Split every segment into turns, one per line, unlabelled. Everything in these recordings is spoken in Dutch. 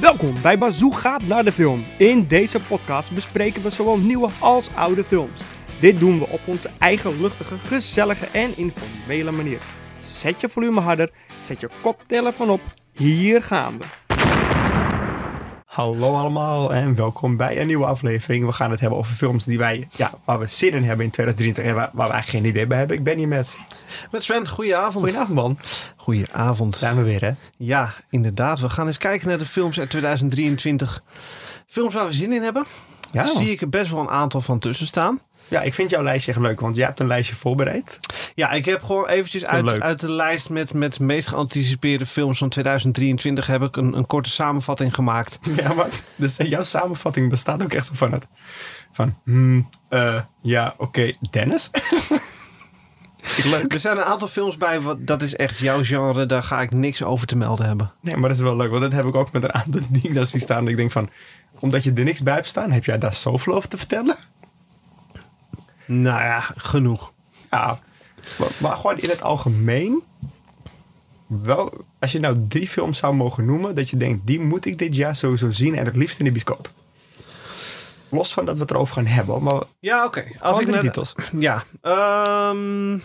Welkom bij Bazoo gaat naar de film. In deze podcast bespreken we zowel nieuwe als oude films. Dit doen we op onze eigen luchtige, gezellige en informele manier. Zet je volume harder, zet je koptelefoon op. Hier gaan we. Hallo allemaal en welkom bij een nieuwe aflevering. We gaan het hebben over films die wij, ja, waar we zin in hebben in 2023 en waar, waar wij geen idee bij hebben. Ik ben hier met.
Met Sven, goedenavond.
Goedenavond man.
Goedenavond.
Zijn we weer hè?
Ja, inderdaad. We gaan eens kijken naar de films uit 2023. Films waar we zin in hebben.
Ja, man.
Zie ik er best wel een aantal van tussen staan.
ja, ik vind jouw lijstje echt leuk, want jij hebt een lijstje voorbereid.
Ja, ik heb gewoon eventjes uit,
leuk.
uit de lijst met, met meest geanticipeerde films van 2023 heb ik een, een korte samenvatting gemaakt.
Ja, maar dus jouw samenvatting bestaat ook echt zo van het... Van, hmm, eh, ja, oké, Dennis?
Er zijn een aantal films bij, wat, dat is echt jouw genre. Daar ga ik niks over te melden hebben.
Nee, maar dat is wel leuk, want dat heb ik ook met een aantal dingen daar zien staan. Dat ik denk van, omdat je er niks bij hebt staan, heb jij daar zoveel over te vertellen?
Nou ja, genoeg.
Ja, maar, maar gewoon in het algemeen... Wel, als je nou drie films zou mogen noemen, dat je denkt, die moet ik dit jaar sowieso zien en het liefst in de bioscoop. Los van dat we het erover gaan hebben, maar
Ja, oké.
als ik
naar
drie
de-
titels.
Ja. Ehm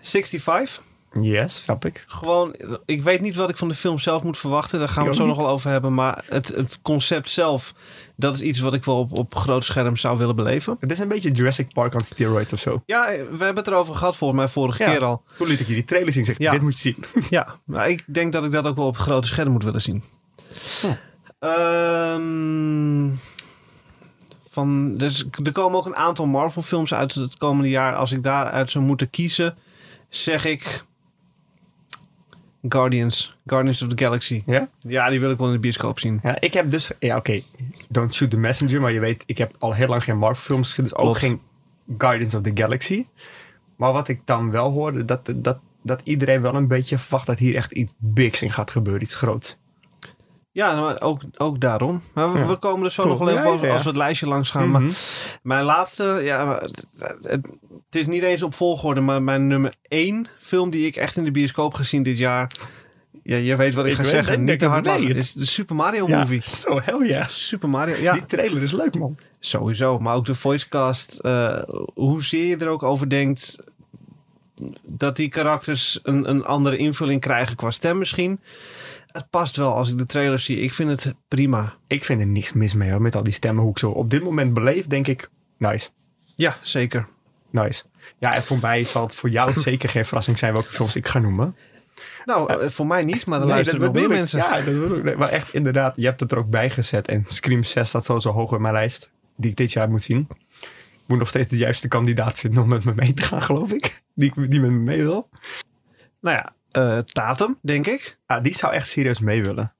65.
Yes, snap ik.
Gewoon, ik weet niet wat ik van de film zelf moet verwachten. Daar gaan we
Ik
het zo
ook
nog wel over hebben. Maar het, het concept zelf, dat is iets wat ik wel op, op groot scherm zou willen beleven.
Het is een beetje Jurassic Park aan steroids of zo.
Ja, eh, we hebben het erover gehad volgens mij vorige
Ja.
keer al.
Toen liet ik je die trailer zien. Zeg,
Ja.
dit moet je zien.
Ja, maar ik denk dat ik dat ook wel op grote scherm moet willen zien.
Ja.
Ehm, van, dus, er komen ook een aantal Marvel films uit het komende jaar. Als ik daaruit zou moeten kiezen, zeg ik Guardians. Guardians of the Galaxy.
Ja?
Ja, die wil ik wel in de bioscoop zien.
ja, ik heb dus... Ja, oké. Don't shoot the messenger. Maar je weet, ik heb al heel lang geen Marvel films gezien. Dus ook
Klopt.
geen Guardians of the Galaxy. Maar wat ik dan wel hoorde, dat, dat, dat iedereen wel een beetje verwacht dat hier echt iets bigs in gaat gebeuren. Iets groots.
Ja, maar ook, ook daarom. Maar we,
Ja.
we komen er zo
Cool.
nog wel even
Ja, ja,
over
ja.
als we het lijstje langs gaan.
Mhm.
Maar mijn laatste, ja, maar het, het- het is niet eens op volgorde, maar mijn nummer één film die ik echt in de bioscoop gezien dit jaar. Ja, je weet wat ik,
Ik
ga
weet- ik
zeggen.
denk
Niet te
dat
hard
ik
lachen.
weet.
is de Super Mario
Ja,
Movie.
Zo, hell yeah.
Super Mario, ja,
Die trailer is leuk, man.
sowieso. Maar ook de voicecast, eh hoezeer je er ook over denkt, dat die karakters een, een andere invulling krijgen qua stem misschien. Het past wel als ik de trailer zie. Ik vind het prima.
Ik vind er niks mis mee, hoor. Met al die stemmen, hoe ik zo op dit moment beleef, denk ik... Nice.
Ja, zeker.
Nice. Ja, en voor mij zal het voor jou zeker geen verrassing zijn welke films ik ga noemen.
Nou, eh, voor mij niet, maar er
Nee,
luisteren wel meer
bedoel ik.
mensen.
Ja, dat bedoel ik. Nee, maar echt inderdaad, je hebt het er ook bij gezet. En Scream 6 staat sowieso hoog op mijn lijst, die ik dit jaar moet zien. Ik moet nog steeds de juiste kandidaat vinden om met me mee te gaan, geloof ik. Die, ik- die met me mee wil.
Nou ja, eh, Tatum, denk ik.
Ah, die zou echt serieus mee willen.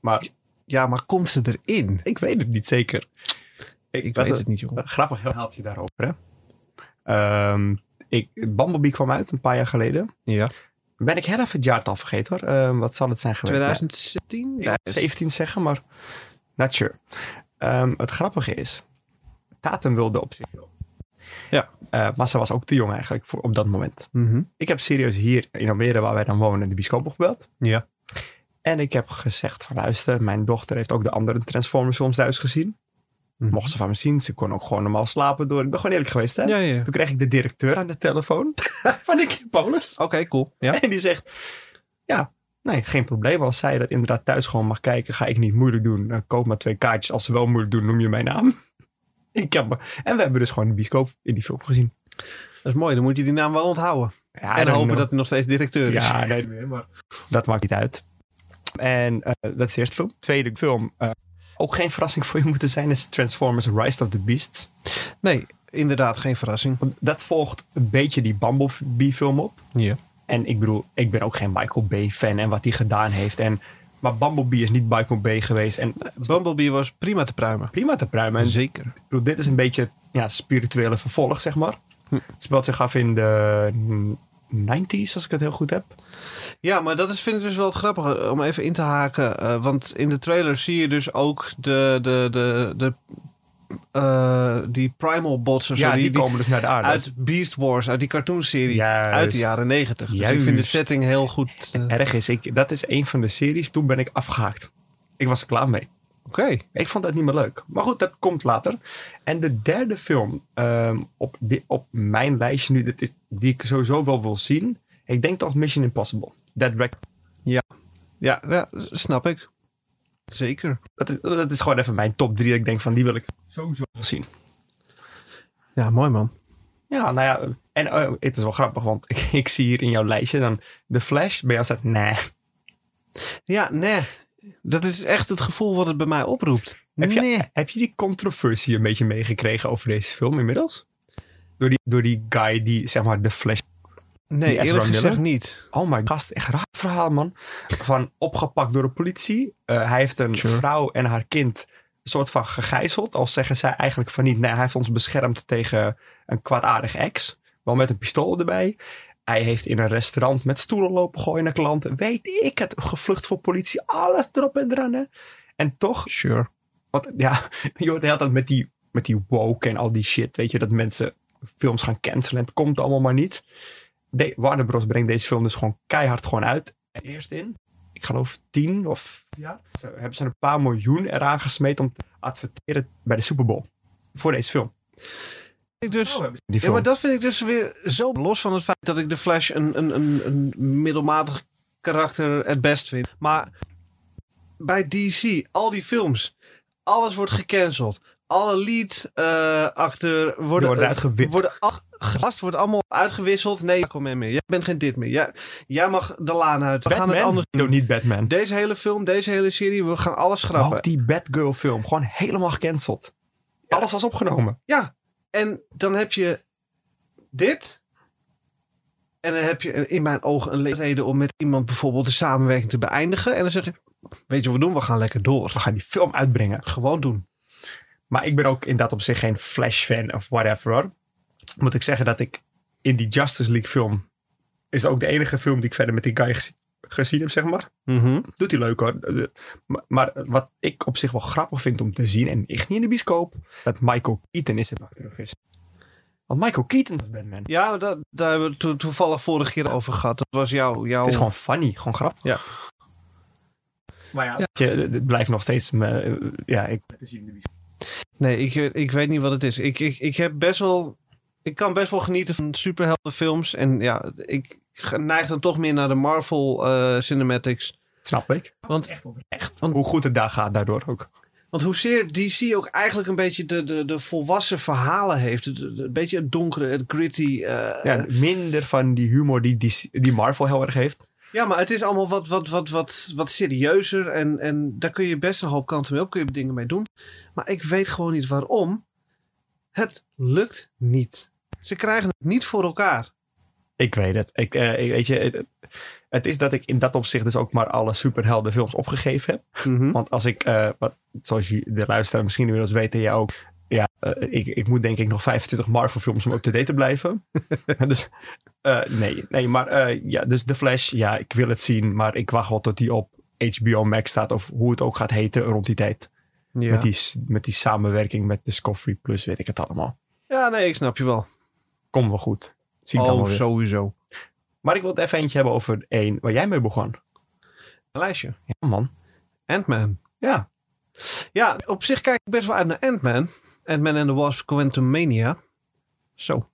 Maar
Ja, maar komt ze erin?
ik weet het niet zeker.
Ik
dat-
weet het niet, jongen.
dat- Grappig verhaaltje daarover, hè. Ehm, ik, Bumblebee kwam uit een paar jaar geleden.
Ja.
Ben ik heel even het jaartal vergeten, hoor. Ehm, wat zal het zijn geweest? Ja.
2017?
Ik wou 17 zeggen, maar not sure. Ehm, het grappige is, Tatum wilde op zich wel.
Ja.
Eh, maar ze was ook te jong eigenlijk voor, op dat moment.
Mhm.
Ik heb serieus hier in Almere, waar wij dan wonen, de bioscoop opgebeld.
Ja.
En ik heb gezegd van luister, mijn dochter heeft ook de andere Transformers films thuis gezien.
Mhm.
Mocht ze van me zien, ze kon ook gewoon normaal slapen door. Ik ben gewoon eerlijk geweest hè.
Ja, ja, ja. Oké,
Toen kreeg ik de directeur aan de telefoon van de Polis.
cool. Ja.
En die zegt, ja, nee, geen probleem. Als zij dat inderdaad thuis gewoon mag kijken, ga ik niet moeilijk doen. Eh, koop maar twee kaartjes. Als ze wel moeilijk doen, noem je mijn naam. ik heb me- En we hebben dus gewoon de bioscoop in die film gezien.
Dat is mooi. Dan moet je die naam wel onthouden.
Ja,
en
dan-
hopen dat hij nog steeds directeur is.
Ja, nee,
maar...
dat maakt niet uit. En eh, dat is de eerste film. Tweede film, eh, ook geen verrassing voor je moeten zijn, is Transformers Rise of the Beasts.
Nee, inderdaad, geen verrassing.
Want dat volgt een beetje die Bumblebee film op.
Ja.
En ik bedoel, ik ben ook geen Michael Bay fan en wat hij gedaan heeft. En, maar Bumblebee is niet Michael Bay geweest. En eh,
Bumblebee was prima te pruimen.
prima te pruimen. En
Zeker.
ik bedoel, dit is een beetje het, ja, spirituele vervolg, zeg maar.
Hm.
Het speelt zich af in de mm, 90s, als ik het heel goed heb.
Ja, maar dat is, vind ik dus wel het grappige eh, om even in te haken. eh, want in de trailer zie je dus ook de, de, de, de eh, die Primal Bots of zo.
Ja, die,
die- die-
komen dus naar de aarde.
uit Beast Wars, uit die cartoonserie.
Juist.
Uit de jaren negentig. Dus ik vind de
Juist.
setting heel goed. eh, Oké.
Erg is, ik, dat is een van de series. Toen ben ik afgehaakt. Ik was er klaar mee. Ik vond dat niet meer leuk. Maar goed, dat komt later. En de derde film ehm, op, di- op mijn lijstje nu, dat is, die ik sowieso wel wil zien. Ik denk toch Mission Impossible. Dead Reck.
Ja, ja, snap ik. Zeker.
Dat is, dat is gewoon even mijn top drie. Dat ik denk van, die wil ik sowieso wel zien.
Ja, mooi man.
Ja, nou ja. En eh, het is wel grappig, want ik, ik zie hier in jouw lijstje dan The Flash. Bij jou staat, nee.
Ja, nee. Dat is echt het gevoel wat het bij mij oproept.
Heb je,
Nee.
heb je die controversie een beetje meegekregen over deze film inmiddels? Door die, door die guy die, zeg maar, de Flash...
Nee,
Die Ezra
eerlijk gezegd
Miller?
niet.
Oh my gast, echt raar verhaal, man. Van opgepakt door de politie. Eh, hij heeft een
Sure.
vrouw en haar kind een soort van gegijzeld. Al zeggen zij eigenlijk van niet, nee, hij heeft ons beschermd tegen een kwaadaardig ex. Wel met een pistool erbij. Hij heeft in een restaurant met stoelen lopen gooien naar klanten. Weet ik het, gevlucht voor politie. Alles erop en eraan, hè. En toch
Sure.
Want ja, je hoort de hele tijd met die, met die woke en al die shit. Weet je, dat mensen films gaan cancelen. Het komt allemaal maar niet. De, Warner Bros. brengt deze film dus gewoon keihard gewoon uit. Eerst in, ik geloof tien of ja, ze, hebben ze een paar miljoen eraan gesmeed om te adverteren bij de Super Bowl. Voor deze film.
Ik dus,
hebben ze die
ja,
film.
maar dat vind ik dus weer zo los van het feit dat ik de Flash een, een, een, een middelmatig karakter het best vind. Maar bij DC, al die films, alles wordt gecanceld. Alle lead eh, acteur worden,
worden uitgewipt.
Worden ach- gast wordt allemaal uitgewisseld. Nee, kom mee meer. Jij bent geen dit meer. Jij, jij mag de laan uit. We gaan het
Batman?
anders
Doe
doen.
niet Batman.
Deze hele film, deze hele serie, we gaan alles
Maar
schrappen.
ook die Batgirl film. Gewoon helemaal gecanceld.
Ja.
Alles was opgenomen.
Ja, en dan heb je dit. En dan heb je in mijn ogen een le- reden om met iemand bijvoorbeeld de samenwerking te beëindigen. En dan zeg je, weet je wat we doen? We gaan lekker door.
We gaan die film uitbrengen.
Gewoon doen.
Maar ik ben ook in dat op zich geen Flash-fan of whatever hoor. Moet ik zeggen dat ik in die Justice League film... is het ook de enige film die ik verder met die guy gezi- gezien heb, zeg maar.
Mhm.
Doet hij leuk hoor. Eh, Maar, maar wat ik op zich wel grappig vind om te zien... en echt niet in de bioscoop... dat Michael Keaton is het nog terug is. Want Michael Keaton is Batman.
Ja, dat, daar hebben we to- toevallig vorige keer over gehad. Dat was jouw... jouw...
Het is gewoon funny, gewoon grappig.
Ja.
Maar ja, weet je, het blijft nog steeds... me- eh, ja, ik... te zien in de bioscoop.
Nee, ik, ik weet niet wat het is. Ik, ik, ik heb best wel... Ik kan best wel genieten van superheldenfilms. En ja, ik ge- neig dan toch meer naar de Marvel eh, Cinematics.
Snap ik.
Want
Echt. Hoe goed het daar gaat daardoor ook.
Want hoezeer DC ook eigenlijk een beetje de, de, de volwassen verhalen heeft. Het- het- Een beetje het donkere, het gritty. eh, ja.
Ja, minder van die humor die, die, die Marvel heel erg heeft.
maar het is allemaal wat, wat, wat, wat, wat serieuzer. En, en daar kun je best een hoop kanten mee op. Kun je dingen mee doen. Maar ik weet gewoon niet waarom. Het lukt niet. Ze krijgen het niet voor elkaar.
Ik weet het. Ik, eh, ik- weet je, het, het is dat ik in dat opzicht dus ook maar alle superheldenfilms opgegeven heb. Want als ik, eh, wat, zoals ju- de luisteraar misschien inmiddels weten, jij ook. Ja, eh, ik, ik moet denk ik nog 25 Marvel films om up-to-date te blijven. dus eh, nee, nee, maar eh, ja, dus The Flash, ja, ik wil het zien. Maar ik wacht wel tot die op HBO Max staat of hoe het ook gaat heten rond die tijd.
Ja.
Met, die, s- met die samenwerking met Discovery Plus, weet ik het allemaal.
ja, nee, ik snap je wel.
Kom wel goed. Zie ik dan wel
Oh,
weer.
sowieso.
Maar ik wil het even eentje hebben over één waar jij mee begon.
Een lijstje.
Ja, man.
Ant-Man.
Ja.
Ja, op zich kijk ik best wel uit naar Ant-Man. Ant-Man and the Wasp Quantumania. Zo.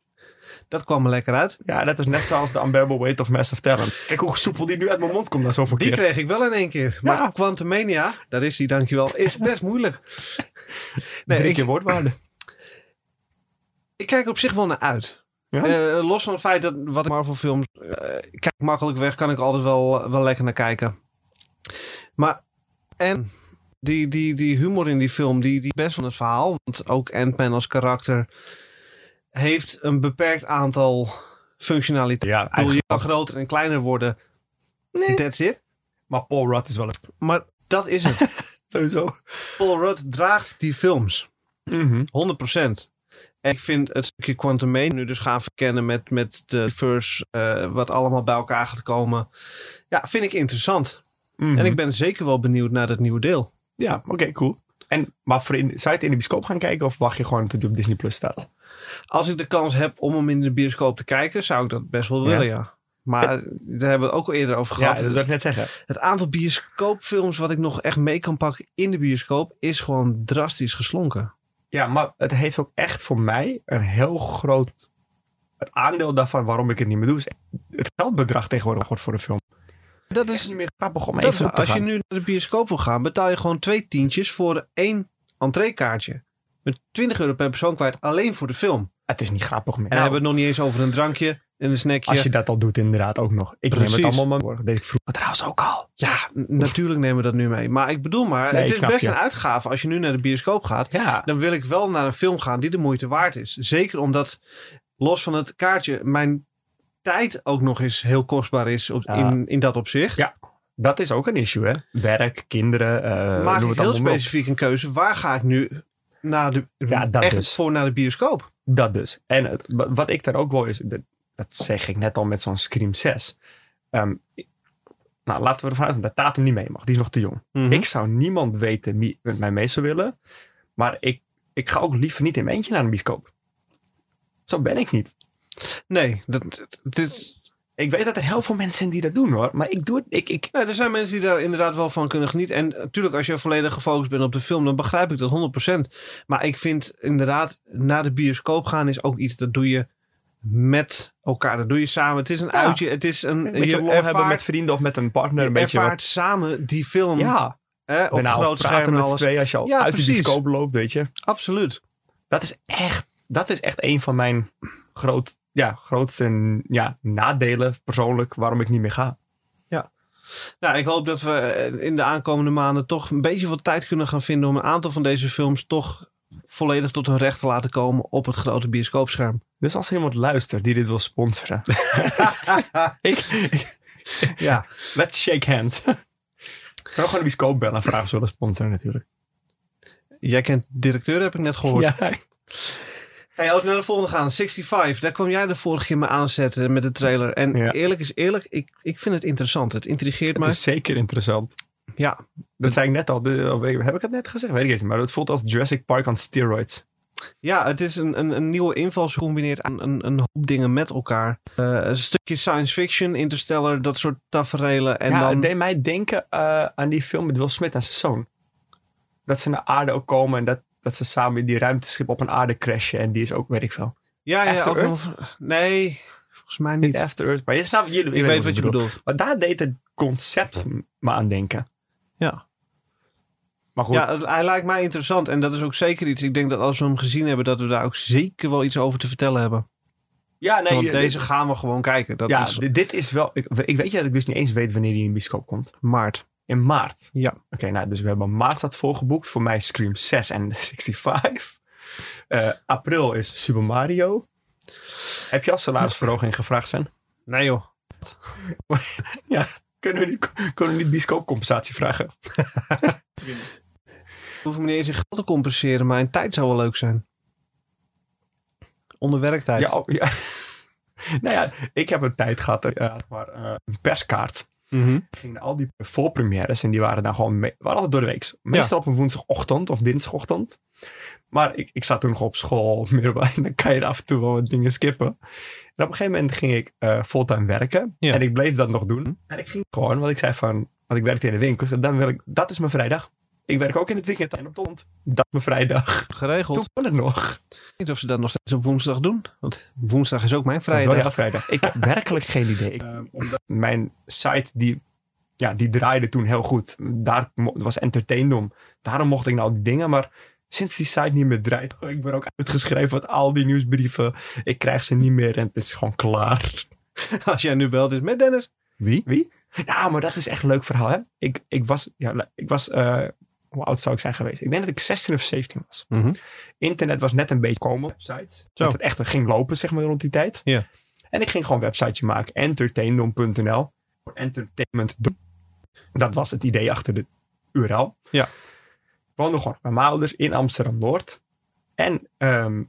Dat kwam er lekker uit.
Ja, dat is net zoals de Unbearable Weight of Massive Talent. Kijk hoe soepel die nu uit mijn mond komt na zoveel
Die
keer.
kreeg ik wel in één keer. Maar
Ja.
Quantumania, daar is die, dankjewel, is best moeilijk. Nee,
Drie
ik,
keer woordwaarde.
ik kijk er op zich wel naar uit.
Ja?
Eh, los van het feit dat wat Marvel films... eh, kijk makkelijk weg, kan ik altijd wel, wel lekker naar kijken. Maar, en die, die, die humor in die film, die, die best van het verhaal. Want ook Ant-Man als karakter heeft een beperkt aantal functionaliteiten.
Ja,
Ik bedoel, je kan groter en kleiner worden.
Nee.
That's it.
Maar Paul Rudd is wel een...
Maar dat is het.
Sowieso.
Paul Rudd draagt die films. Mhm, 100%. En ik vind het stukje Quantum nu dus gaan verkennen met, met de verse, eh, wat allemaal bij elkaar gaat komen. mhm.
Mhm.
Ja, vind ik interessant. En ik ben zeker wel benieuwd naar dat nieuwe deel.
Ja, oké, cool. En, maar voor in, zou je het in de bioscoop gaan kijken of wacht je gewoon tot die op Disney Plus staat?
Als ik de kans heb om hem in de bioscoop te kijken, zou ik dat best wel
Ja.
willen, ja. Maar daar hebben we het ook al eerder over
Ja,
gehad.
dat wil ik net zeggen.
Het aantal bioscoopfilms wat ik nog echt mee kan pakken in de bioscoop is gewoon drastisch geslonken.
Ja, maar het heeft ook echt voor mij een heel groot het aandeel daarvan waarom ik het niet meer doe. Is het geldbedrag tegenwoordig wordt voor de film.
Dat
Het
is,
is niet meer grappig om
dat is
even op te
als
gaan.
je nu naar de bioscoop wil gaan, betaal je gewoon twee tientjes voor één entreekaartje. Met 20 euro per persoon kwijt alleen voor de film. En
Het is niet grappig meer.
dan
Nou,
hebben we het nog niet eens over een drankje en een snackje.
als je dat al doet inderdaad ook nog. Ik neem
Precies.
het allemaal maar. Dat deed ik vroeger trouwens ook al.
Ja, n- natuurlijk nemen we dat nu mee. Maar ik bedoel maar,
Nee,
het
ik
is
snap
best
je.
een uitgave als je nu naar de bioscoop gaat.
Ja.
dan wil ik wel naar een film gaan die de moeite waard is. Zeker omdat, los van het kaartje, mijn tijd ook nog eens heel kostbaar is op,
Ja.
in, in dat opzicht.
Ja, Dat is ook een issue, hè? Werk, kinderen, eh
Maak
noem
ik heel
het allemaal maar op.
specifiek een keuze. Waar ga ik nu naar de,
Ja, dat
echt
dus.
voor naar de bioscoop?
Dat dus. En het- wa- wat ik daar ook wel is, dat- dat zeg ik net al met zo'n Scream 6. Ehm, nou, laten we ervan uitgaan dat Tatum niet mee mag. Die is nog te jong. Ik zou niemand weten wie met mij mee zou willen. Maar ik, ik ga ook liever niet in mijn eentje naar een bioscoop. Zo ben ik niet.
Nee, dat, het- het is,
Ik weet dat er heel veel mensen zijn die dat doen hoor. Maar ik doe het. Ik, ik,
nee, er zijn mensen die daar inderdaad wel van kunnen genieten. En natuurlijk, als je volledig gefocust bent op de film, dan begrijp ik dat 100%. Maar ik vind inderdaad, naar de bioscoop gaan is ook iets dat doe je met elkaar. Dat doe je samen. Het is een uitje. Het is een,
een beetje lol hebben met vrienden of met een partner. Een
je
beetje
ervaart
wat.
samen die film
Ja,
hè, op
daarna
groot
groot
scherm
praten
en
met z'n
alles.
tweeën als je al
Ja,
uit de
precies.
bioscoop loopt, weet je.
Absoluut.
Dat is echt, dat is echt een van mijn groot, ja, grootste ja, nadelen persoonlijk waarom ik niet meer ga.
Nou, ik hoop dat we eh, in de aankomende maanden toch een beetje wat tijd kunnen gaan vinden om een aantal van deze films toch volledig tot hun recht te laten komen op het grote bioscoopscherm.
Dus als er iemand luistert die dit wil sponsoren. ik, ik-
Ja,
let's shake hands. Kan ook gewoon de bioscoop bellen en vragen of ze willen sponsoren natuurlijk.
jij kent directeur, heb ik net gehoord.
Ja.
Hey, als we naar de volgende gaan, 65, daar kwam jij de vorige keer mee aanzetten met de trailer. En
Ja.
eerlijk is eerlijk, ik, ik vind het interessant. Het intrigeert
Het
mij.
is zeker interessant.
Ja.
Dat zei ik net al. de- of heb ik het net gezegd? Weet ik niet. Maar het voelt als Jurassic Park aan steroids.
Ja, het is een, een, een nieuwe inval gecombineerd aan een, een hoop dingen met elkaar. Eh, een stukje science fiction, interstellar, dat soort taferelen. En
ja,
dan,
het deed mij denken eh, aan die film met Will Smith en zijn zoon. Dat ze naar aarde ook komen en dat, dat ze samen in die ruimteschip op een aarde crashen. En die is ook, weet ik veel.
ja, ja,
After
ook
Earth?
nog- nee, volgens mij niet.
Niet After Earth. Maar je snapt, jullie
ik weet wat je bedoelt.
Maar daar deed het concept me aan denken.
Ja.
Maar goed,
Ja, het- hij lijkt mij interessant. En dat is ook zeker iets. Ik denk dat als we hem gezien hebben, dat we daar ook zeker wel iets over te vertellen hebben.
ja, nee,
Want
je-
deze gaan we gewoon kijken. Dat
ja,
is
di- dit is wel. Ik, ik weet ja dat ik dus niet eens weet wanneer die in de bioscoop komt.
maart.
In maart.
Ja.
Oké, nou, dus we hebben maart dat volgeboekt. Voor mij Scream 6 en 65. Eh, april is Super Mario. Heb je al salarisverhoging gevraagd, Sven?
Nee joh.
Kunnen we niet, kunnen we niet bioscoopcompensatie vragen?
Hoef me niet eens in geld te compenseren, maar in tijd zou wel leuk zijn. Onder werktijd.
Ja, oh, ja. nou ja, ik heb een tijd gehad, eh, maar eh, een perskaart.
Mhm.
gingen al die voorpremières en die waren dan gewoon, me- waren altijd door de week. Meestal op een woensdagochtend of dinsdagochtend. Maar ik, ik zat toen nog op school, middelbaar, en dan kan je af en toe wel wat dingen skippen. En op een gegeven moment ging ik eh, fulltime werken
Ja. Hm.
en ik bleef dat nog doen. En ik ging gewoon, want ik zei van, want ik werkte in de winkel, ik zei, dan wil ik, dat is mijn vrijdag. Ik werk ook in het weekend en op de hond. Dat is mijn vrijdag.
Geregeld.
Toen kon het nog.
Ik weet niet of ze dat nog steeds op woensdag doen. Want woensdag is ook mijn
Dat is
vrijdag.
wel jouw vrijdag. Ik heb werkelijk geen idee. Ik- omdat mijn site die, ja, die draaide toen heel goed. Daar mo- was entertaindom. Daarom mocht ik nou die dingen. Maar sinds die site niet meer draait. oh, Ik ben ook uitgeschreven uit al die nieuwsbrieven. Ik krijg ze niet meer en het is gewoon klaar.
Als jij nu belt is met Dennis. Wie?
Wie? Nou, maar dat is echt een leuk verhaal. Hè? Ik, ik was, ja, ik was eh, hoe oud zou ik zijn geweest? Ik denk dat ik 16 of 17 was.
Mhm.
Internet was net een beetje komen. Websites. Dat het echt ging lopen, zeg maar, rond die tijd.
Ja.
En ik ging gewoon een websiteje maken. Entertaindom.nl. Voor Entertainment. Dat was het idee achter de URL.
Ja.
Ik woonde gewoon met mijn ouders in Amsterdam-Noord. En ehm,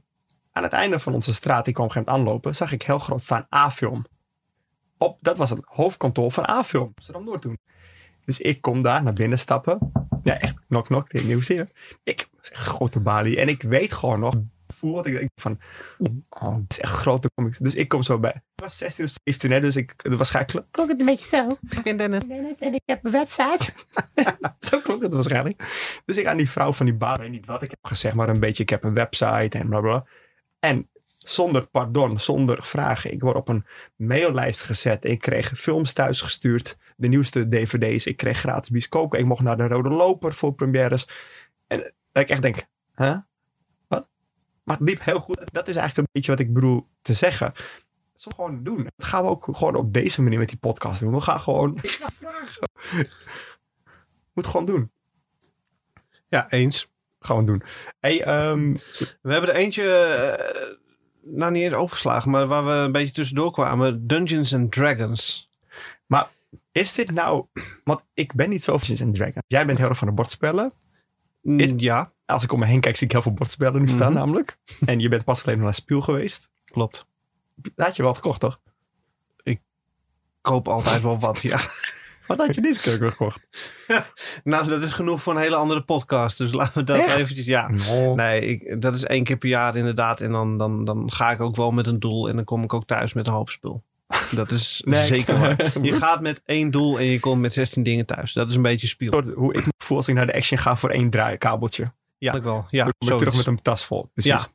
aan het einde van onze straat, die kwam geen aanlopen, zag ik heel groot staan A-film. Op, dat was het hoofdkantoor van A-film. Amsterdam-Noord toen. Dus ik kom daar naar binnen stappen. Ja, echt. Knock, knock. tegen je hoezeer. Ik was echt grote balie. En ik weet gewoon nog. Voel wat ik denk van. Oh, het is echt grote comics. Dus ik kom zo bij. Ik was 16 of 17, hè, dus ik, het was waarschijnlijk.
klonk het een beetje zo.
Ik ben Dennis.
En ik heb een wedstrijd.
Zo klonk het waarschijnlijk. Dus ik aan die vrouw van die baan, ik weet niet wat ik heb gezegd, maar een beetje, ik heb een website en bla bla. En zonder pardon, zonder vragen, ik word op een maillijst gezet. Ik kreeg films thuisgestuurd, de nieuwste dvd's. Ik kreeg gratis bioscoop. Ik mocht naar de Rode Loper voor premières. En dat ik echt denk, hè? Wat? Maar het liep heel goed. Dat is eigenlijk een beetje wat ik bedoel te zeggen. Zo gewoon doen. Dat gaan we ook gewoon op deze manier met die podcast doen. We gaan gewoon Ik ga vragen. Moet gewoon doen
Ja, eens.
gewoon doen. Hey, ehm,
We hebben er eentje, eh, nou niet eens overgeslagen, maar waar we een beetje tussendoor kwamen. Dungeons and Dragons.
is dit nou... Want ik ben niet zo van Dungeons Dragons. Jij bent heel erg van de bordspellen.
Mm,
Is-
Ja,
Als ik om me heen kijk, zie ik heel veel bordspellen nu staan
Mhm.
namelijk. En je bent pas alleen maar naar Spiel geweest.
klopt.
Daar had je wel gekocht, toch?
Koop altijd wel wat, ja.
Wat had je deze keer ook weer gekocht?
Nou, dat is genoeg voor een hele andere podcast. Dus laten we dat
Echt?
eventjes, ja. Nee, ik, dat is één keer per jaar inderdaad. En dan, dan, dan ga ik ook wel met een doel. En dan kom ik ook thuis met een hoop spul. Dat is
Next.
zeker waar. Je gaat met één doel en je komt met 16 dingen thuis. Dat is een beetje spiel.
Soort hoe ik me voel als ik naar de action ga voor één draaikabeltje.
Ja, ik wel. Ja,
Dan kom ik terug
zoiets.
met een tas vol. Precies.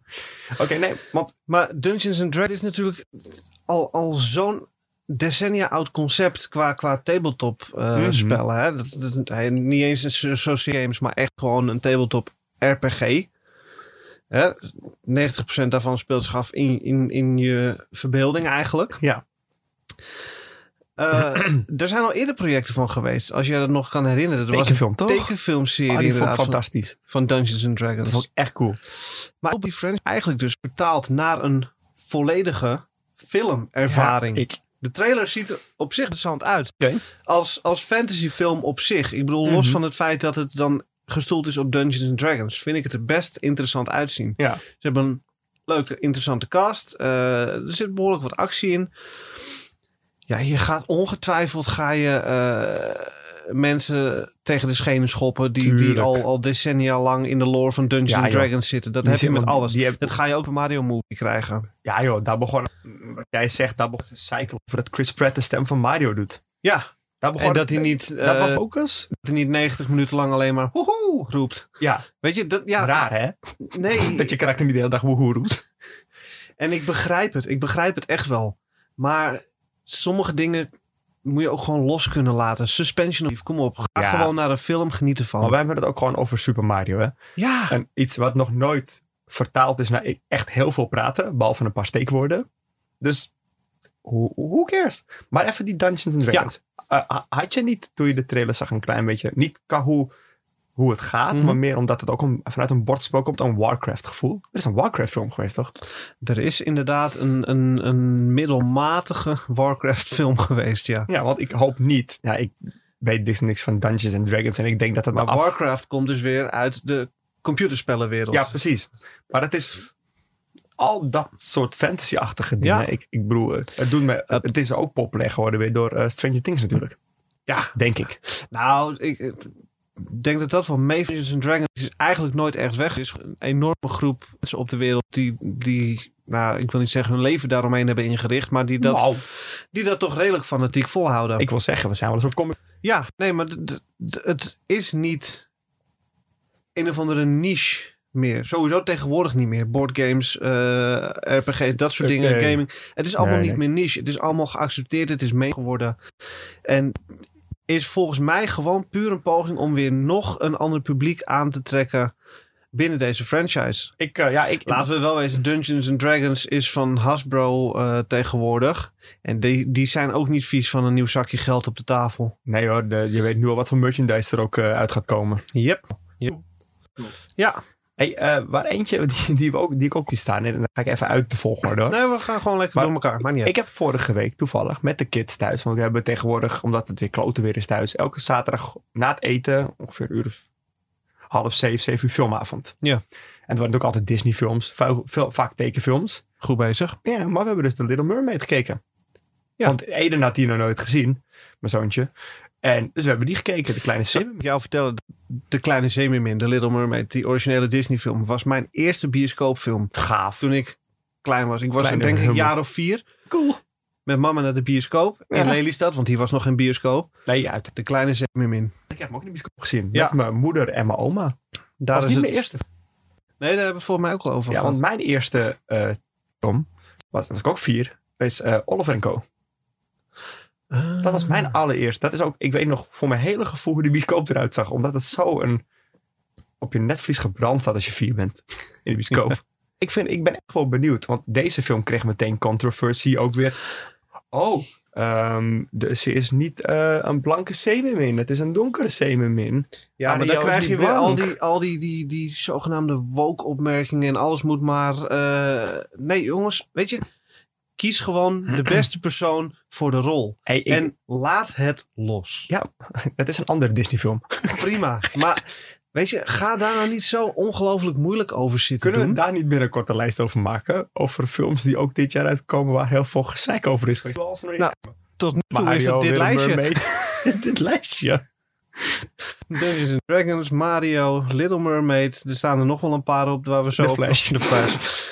Oké, nee, want
Maar Dungeons and Dragons is natuurlijk al, al zo'n decennia oud concept qua, qua tabletop eh,
Mhm.
spellen. Hè? Dat, dat- hij- niet eens een so- social games, maar echt gewoon een tabletop RPG. Hè? 90% daarvan speelt zich af in, in, in je verbeelding eigenlijk.
Ja.
Eh, er zijn al eerder projecten van geweest, als jij dat nog kan herinneren. Er was een
tekenfilm toch?
tekenfilmserie
Ah, die vond ik
inderdaad van,
fantastisch.
van Dungeons and Dragons.
Dat vond ik echt cool.
Maar Obi Friends eigenlijk dus vertaald naar een volledige filmervaring.
Ja, ik-
De trailer ziet er op zich interessant uit.
Oké.
Als, als fantasyfilm op zich. Ik bedoel, los
Mhm.
van het feit dat het dan gestoeld is op Dungeons and Dragons, vind ik het er best interessant uitzien.
Ja.
Ze hebben een leuke, interessante cast. Eh, er zit behoorlijk wat actie in. Ja, je gaat ongetwijfeld ga je eh, mensen tegen de schenen schoppen die, die
Tuurlijk.
al, al decennia lang in de lore van Dungeons
Ja,
and
joh.
Dragons zitten. Dat
Die
heb je
zin
met
met-
alles.
die heb-
Dat ga je ook bij Mario Movie krijgen.
Ja joh, daar begon... Wat jij zegt, daar begon het cycle over dat Chris Pratt de stem van Mario doet.
Ja,
Daar begon
en dat hij niet, eh,
dat was ook eens.
dat hij niet 90 minuten lang alleen maar woehoe roept.
Ja,
Weet je, dat, ja,
raar hè?
nee.
Dat je karakter niet de hele dag woehoe roept.
En ik begrijp het. Ik begrijp het echt wel. Maar sommige dingen moet je ook gewoon los kunnen laten. Suspension of kom op. Ga
Ja.
gewoon naar een film, geniet ervan.
Maar wij hebben het ook gewoon over Super Mario hè.
Ja,
En iets wat nog nooit vertaald is naar e- echt heel veel praten. Behalve een paar steekwoorden. Dus who, who cares? Maar even die Dungeons and Dragons. Eh, ha- had je niet toen je de trailer zag een klein beetje... Niet qua hoe, hoe het gaat.
Mhm.
Maar meer omdat het ook een- vanuit een bordspel komt. Een Warcraft gevoel. Er is een Warcraft film geweest toch?
er is inderdaad een, een, een middelmatige Warcraft film geweest, ja.
Ja, want ik hoop niet. Ja, ik weet dus niks van Dungeons and Dragons. En ik denk dat het
Maar
me af-
Warcraft komt dus weer uit de computerspellenwereld.
Ja, precies. Maar het is al dat soort fantasy-achtige dingen.
Ja.
Ik, ik bedoel, het, het doet me,
Dat-
het is ook populair geworden weer door eh, Stranger Things natuurlijk.
Ja.
Denk ik.
Nou, ik eh, denk dat dat wel mee Dungeons and Dragons is eigenlijk nooit echt weg. Er is een enorme groep mensen op de wereld die, die nou, ik wil niet zeggen hun leven daaromheen hebben ingericht, maar die dat,
Nou,
die dat toch redelijk fanatiek volhouden.
ik wil zeggen, we zijn wel een soort comic.
Ja, nee, maar d- d- d- het is niet een of andere niche meer. Sowieso tegenwoordig niet meer. Boardgames, eh, RPG's, dat soort dingen,
Nee.
gaming. Het is allemaal
Nee,
niet meer niche. Het is allemaal geaccepteerd, het is mee geworden. En is volgens mij gewoon puur een poging om weer nog een ander publiek aan te trekken binnen deze franchise.
Ik, eh, ja, ik,
Laten we wel wezen, Dungeons and Dragons is van Hasbro eh, tegenwoordig. En die, die zijn ook niet vies van een nieuw zakje geld op de tafel.
Nee hoor, de- je weet nu al wat voor merchandise er ook eh, uit gaat komen.
Yep. Yep. Ja,
Hey, eh, waar eentje die, die, we ook, die ik ook die staan. En dan ga ik even uit de volgorde hoor.
nee, we gaan gewoon lekker
Maar
door elkaar. Oh. Maar niet uit.
Ik heb vorige week toevallig met de kids thuis. Want we hebben tegenwoordig, omdat het weer klote weer is thuis. Elke zaterdag na het eten, ongeveer een uur of half zeven, zeven uur filmavond.
Ja.
En het waren ook altijd Disney films. Veel, veel- vaak tekenfilms.
goed bezig.
Ja, maar we hebben dus The Little Mermaid gekeken.
Ja.
Want Eden had die nog nooit gezien. Mijn zoontje. En dus we hebben die gekeken. De kleine Sim.
Zou ik jou vertellen De Kleine Zeemeermin, The Little Mermaid, die originele Disney film, was mijn eerste bioscoopfilm. Gaaf. Toen ik klein was. Ik was
Kleine
denk ik een
hummel.
jaar of vier.
Cool.
Met mama naar de bioscoop in
Ja.
Lelystad, want hier was nog geen bioscoop.
Nee, uit.
De Kleine Zeemeermin.
Ik heb hem ook in de bioscoop gezien.
Ja.
Met mijn moeder en mijn oma. Dat
Daar
was niet
het...
mijn eerste.
Nee, daar hebben we het volgens mij ook al over
Ja,
gehad.
want mijn eerste eh film was, was ik ook vier. Is eh, Oliver en Co.
Ah.
Dat was mijn allereerste. Dat is ook, ik weet nog voor mijn hele gevoel hoe de bioscoop eruit zag. Omdat het zo een, op je netvlies gebrand staat als je vier bent. In de bioscoop. Ik, vind, ik ben echt wel benieuwd. Want deze film kreeg meteen controversie ook weer. Oh, ehm, dus ze is niet eh, een blanke zeemermin. Het is een donkere zeemermin.
Ja, maar dan
Ariel is
krijg je
niet
weer al
blank.
die, al die, die, die zogenaamde woke-opmerkingen en alles moet maar... eh, Nee, jongens, weet je, kies gewoon de beste persoon voor de rol.
Hey, ik-
En laat het los.
het is een andere Disney film.
Prima, maar weet je, ga daar nou niet zo ongelooflijk moeilijk over zitten
Kunnen we
doen.
daar niet meer een korte lijst over maken? Over films die ook dit jaar uitkomen waar heel veel gezeik over is geweest. Zoals er nog
Nou,
iets-
Tot nu toe
Maar
is dat
Ariel,
dit
Willem
lijstje.
Mermaid. is dit lijstje?
Dungeons and Dragons, Mario, Little Mermaid. Er staan er nog wel een paar op waar we zo
The
op-
Flash.
The Flash.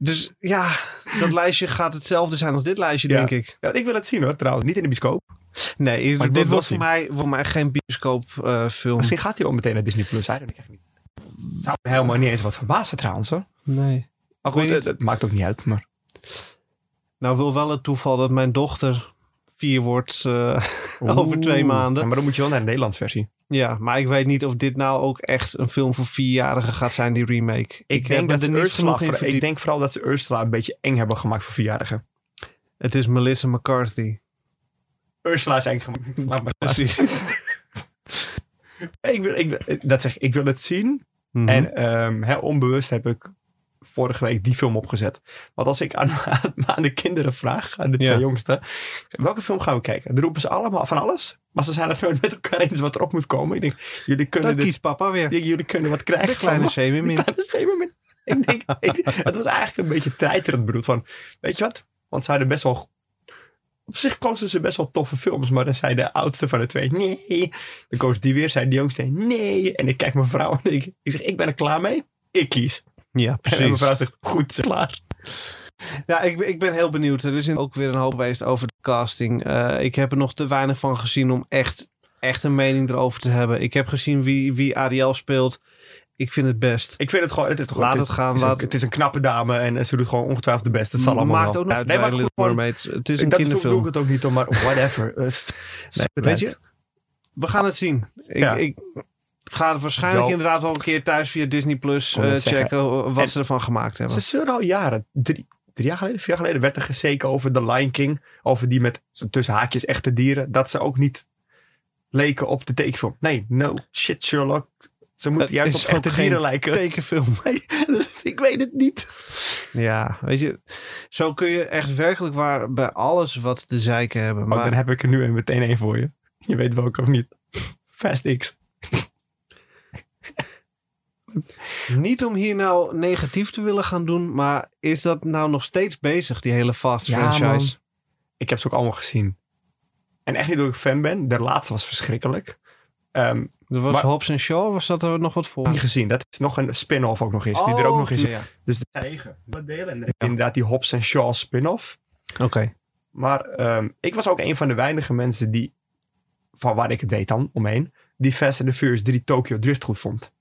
Dus ja, dat lijstje gaat hetzelfde zijn als dit lijstje,
Ja.
denk ik.
Ja, ik wil het zien hoor, trouwens. Niet in de bioscoop.
Oh. Nee,
Maar ik wil
dit
het wel
wordt voor
zien.
mij, voor mij geen bioscoopfilm.
Misschien gaat hij wel meteen naar Disney Plus. I don't know, ik weet het niet. Zou me helemaal niet eens wat verbazen trouwens hoor.
nee. Weet
Maar goed,
je
het, het maakt ook niet uit. Maar
Nou wil wel het toeval dat mijn dochter vier wordt. eh, Over twee
Oeh.
maanden.
Ja, maar dan moet je wel naar de Nederlandse versie.
ja, maar ik weet niet of dit nou ook echt een film voor vierjarigen gaat zijn, die remake. Ik, heb me er niet genoeg in
voor- ik
verdiept.
denk vooral dat ze Ursula een beetje eng hebben gemaakt voor vierjarigen.
Het is Melissa McCarthy.
Ursula is eng gemaakt. Laat maar staan.
Precies.
ik wil, ik wil, dat zeg ik, ik wil het zien.
Mhm.
En ehm, hè, onbewust heb ik vorige week die film opgezet. Want als ik aan, aan de kinderen vraag, aan de twee
Ja.
jongsten, ik zeg, welke film gaan we kijken? Dan roepen ze allemaal van alles. Maar ze zijn het nooit met elkaar eens wat erop moet komen. Ik denk, jullie kunnen,
dan
dit,
kiest papa weer.
j- jullie kunnen wat
De
krijgen.
kleine
van me.
zeemermin.
De kleine zeemermin. Ik denk, ik- het was eigenlijk een beetje treiterend bedoeld van, weet je wat? Want ze hadden best wel, op zich kozen ze best wel toffe films. Maar dan zei de oudste van de twee, nee. Dan koos die weer, zei de jongste, nee. En ik kijk mijn vrouw en ik, ik zeg, ik ben er klaar mee. Ik kies.
Ja,
En mijn
precies.
vrouw zegt, goed, ze- klaar.
Ja, ik, ik ben heel benieuwd. Er is ook weer een hoop geweest over de casting. Eh, ik heb er nog te weinig van gezien om echt, echt een mening erover te hebben. Ik heb gezien wie, wie Ariel speelt. Ik vind het best.
Ik vind het gewoon, het is toch
Laat
het,
het gaan,
is een-
laat-
het is een knappe dame en eh, ze doet gewoon ongetwijfeld de beste. Het zal allemaal
Maakt
wel.
ook nog
Ja,
uit
nee, maar
bij
goed,
Little
gewoon-
Mermaids. Het is een
ik dacht, zo doe
kinderfilm.
ik het ook niet om, maar whatever. Eh, s-
Nee,
het
weet
uit.
je, we gaan het zien. Ik,
Ja.
ik ga er waarschijnlijk
Yo.
inderdaad wel een keer thuis via Disney Plus eh,
Kon het zeggen.
checken wat
En-
ze ervan gemaakt hebben.
Ze zeuren al jaren. Drie, drie jaar geleden, vier jaar geleden werd er gezeken over The Lion King. Over die met zo tussen haakjes echte dieren. Dat ze ook niet leken op de tekenfilm. Nee, no shit Sherlock. Ze moeten
Het
juist
is
op echte
ook geen
dieren lijken.
Tekenfilm.
Dus ik weet het niet.
Ja, weet je, zo kun je echt werkelijk waar bij alles wat de zeiken hebben.
Maar
Maar
dan heb Oh, ik er nu een meteen één voor je. Je weet welke of niet. Fast X.
niet om hier nou negatief te willen gaan doen, maar is dat nou nog steeds bezig, die hele Fast
Ja,
franchise?
Ik heb ze ook allemaal gezien. En echt niet dat ik fan ben. De laatste was verschrikkelijk. Ehm
Er was
Maar-
Hobbs en Shaw, was dat er nog wat voor?
niet gezien. Dat is nog een spin-off ook nog is. die er ook
Oh,
nog is.
ja.
Dus de tegen. Wat delen. En dan heb je inderdaad die Hobbs en Shaw spin-off.
Oké.
Maar ehm, ik was ook een van de weinige mensen die, van waar ik het weet dan, omheen, die Fast and the Furious 3 Tokyo Drift goed vond.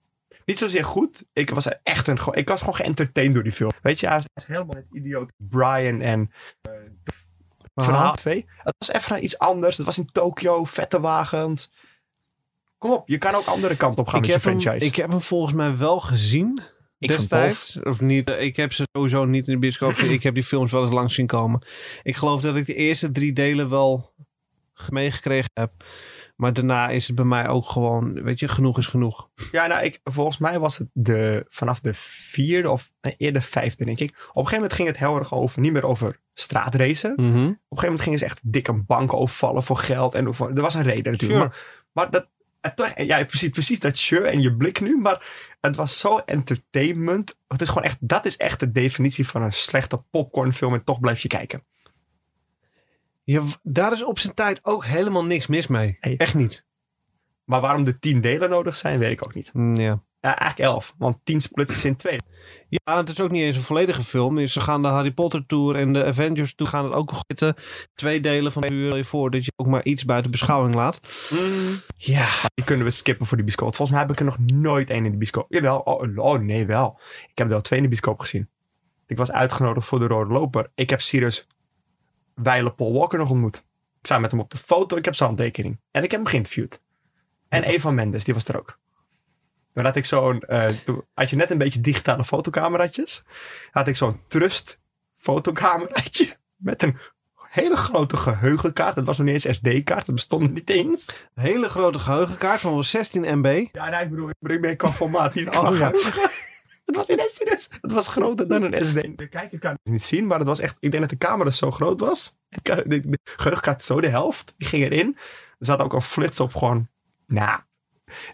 Niet zozeer goed. Ik was er echt een, ik was gewoon geëntertained door die film. Weet je, hij is helemaal het idioot Brian en verhaal 2. Het was even iets anders. Het was in Tokio, vette wagens. Kom op, je kan ook andere kant op gaan
ik
met je
heb, hem,
franchise.
ik heb hem volgens mij wel gezien
Ik vond het tof.
destijds. Of niet, eh, ik heb ze sowieso niet in de bioscoop gezien. Ik heb die films wel eens langs zien komen. Ik geloof dat ik de eerste drie delen wel meegekregen heb. Maar daarna is het bij mij ook gewoon, weet je, genoeg is genoeg.
Ja, nou, ik, volgens mij was het de, vanaf de vierde of nee, eerder vijfde, denk ik. Op een gegeven moment ging het heel erg over, niet meer over straatracen. Op een gegeven moment gingen ze echt dik een bank overvallen voor geld. En voor- er was een reden natuurlijk.
Sure.
Maar, maar dat, het toch- ja, precies, precies dat sure en je blik nu. Maar het was zo entertainment. Het is gewoon echt, dat is echt de definitie van een slechte popcornfilm. En toch blijf je kijken.
Ja, w- daar is op zijn tijd ook helemaal niks mis mee.
Hey.
Echt niet.
Maar waarom de tien delen nodig zijn, weet ik ook niet.
Mm, ja.
Ja, eigenlijk elf, want tien splitsen in twee.
ja, het is ook niet eens een volledige film. Ze gaan de Harry Potter Tour en de Avengers Tour gaan het ook zitten. Twee delen van de uur Stel je voor dat je ook maar iets buiten beschouwing laat. Ja,
Die kunnen we skippen voor die bioscoop. Volgens mij heb ik er nog nooit één in de bioscoop. Jawel, oh, oh nee wel. Ik heb er al twee in de bioscoop gezien. Ik was uitgenodigd voor de Rode Loper. Ik heb Sirius Weile Paul Walker nog ontmoet. Ik sta met hem op de foto. Ik heb zijn handtekening. En ik heb hem geïnterviewd. En Eva Mendes, die was er ook. Toen had ik zo'n... eh, toen had je net een beetje digitale fotocameraatjes. Had ik zo'n Trust fotocameraatje. Met een hele grote geheugenkaart. Dat was nog niet eens SD-kaart. Dat bestond niet eens.
een hele grote geheugenkaart van wel 16 MB.
Ja, nee, ik bedoel, ik breng mee qua formaat, niet qua
Oh, ja.
geheugen. Het was in SDS. Het was groter dan een SD. De kijker kan het niet zien, maar het was echt... Ik denk dat de camera zo groot was. De, ka- de, de geheugenkaart zo de helft. Die ging erin. Er zat ook een flits op gewoon... Nou...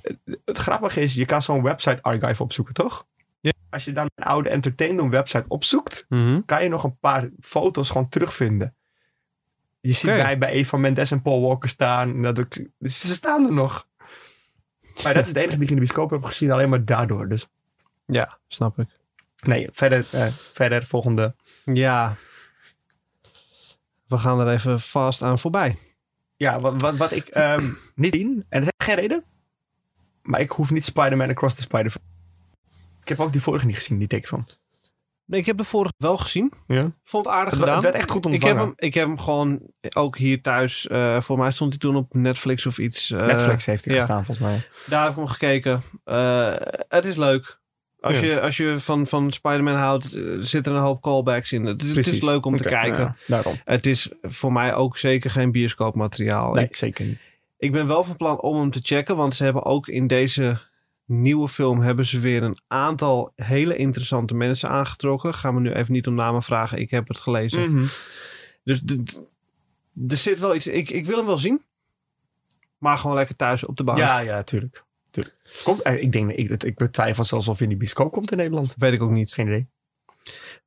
het, het grappige is, je kan zo'n website archive opzoeken, toch?
Ja.
Als je dan een oude Entertainment website opzoekt, kan je nog een paar foto's gewoon terugvinden. Je ziet
Oké.
mij bij Eva Mendes en Paul Walker staan. En dat ik, dus ze staan er nog. Maar dat is het enige die ik in de bioscoop heb gezien. Alleen maar daardoor. Dus
Ja, snap ik.
nee, verder, eh, verder volgende.
Ja. We gaan er even vast aan voorbij.
Ja, wat, wat, wat ik ehm, niet zien. En dat heeft geen reden. Maar ik hoef niet Spider-Man Across the spider Ik heb ook die vorige niet gezien, die take van.
Nee, ik heb de vorige wel gezien.
Ja.
Vond het aardig
Het wa-
gedaan.
het werd echt goed
ik heb,
ontvangen.
hem, ik heb hem gewoon ook hier thuis. eh, voor mij stond hij toen op Netflix of iets. eh,
Netflix heeft die
ja. Dus
gestaan, volgens mij.
Daar heb ik hem gekeken. Eh, het is leuk. Als,
Ja.
je, als je van, van Spider-Man houdt, eh, zit er een hoop callbacks in. Het, is- het is
Precies.
leuk om te
Oké, nou
kijken.
ja, daarom.
Het is voor mij ook zeker geen bioscoopmateriaal.
Nee,
Ik,
zeker niet.
ik ben wel van plan om hem te checken. Want ze hebben ook in deze nieuwe film hebben ze weer een aantal hele interessante mensen aangetrokken. Gaan we nu even niet om namen vragen. Ik heb het gelezen.
Mhm.
Dus d- d- er zit wel iets. Ik, ik wil hem wel zien. Maar gewoon lekker thuis op de bank.
Ja, ja, tuurlijk. tuurlijk. Komt, eh, ik, denk, ik, ik betwijfel zelfs of hij in die bioscoop komt in Nederland.
Dat weet ik ook niet.
Geen idee.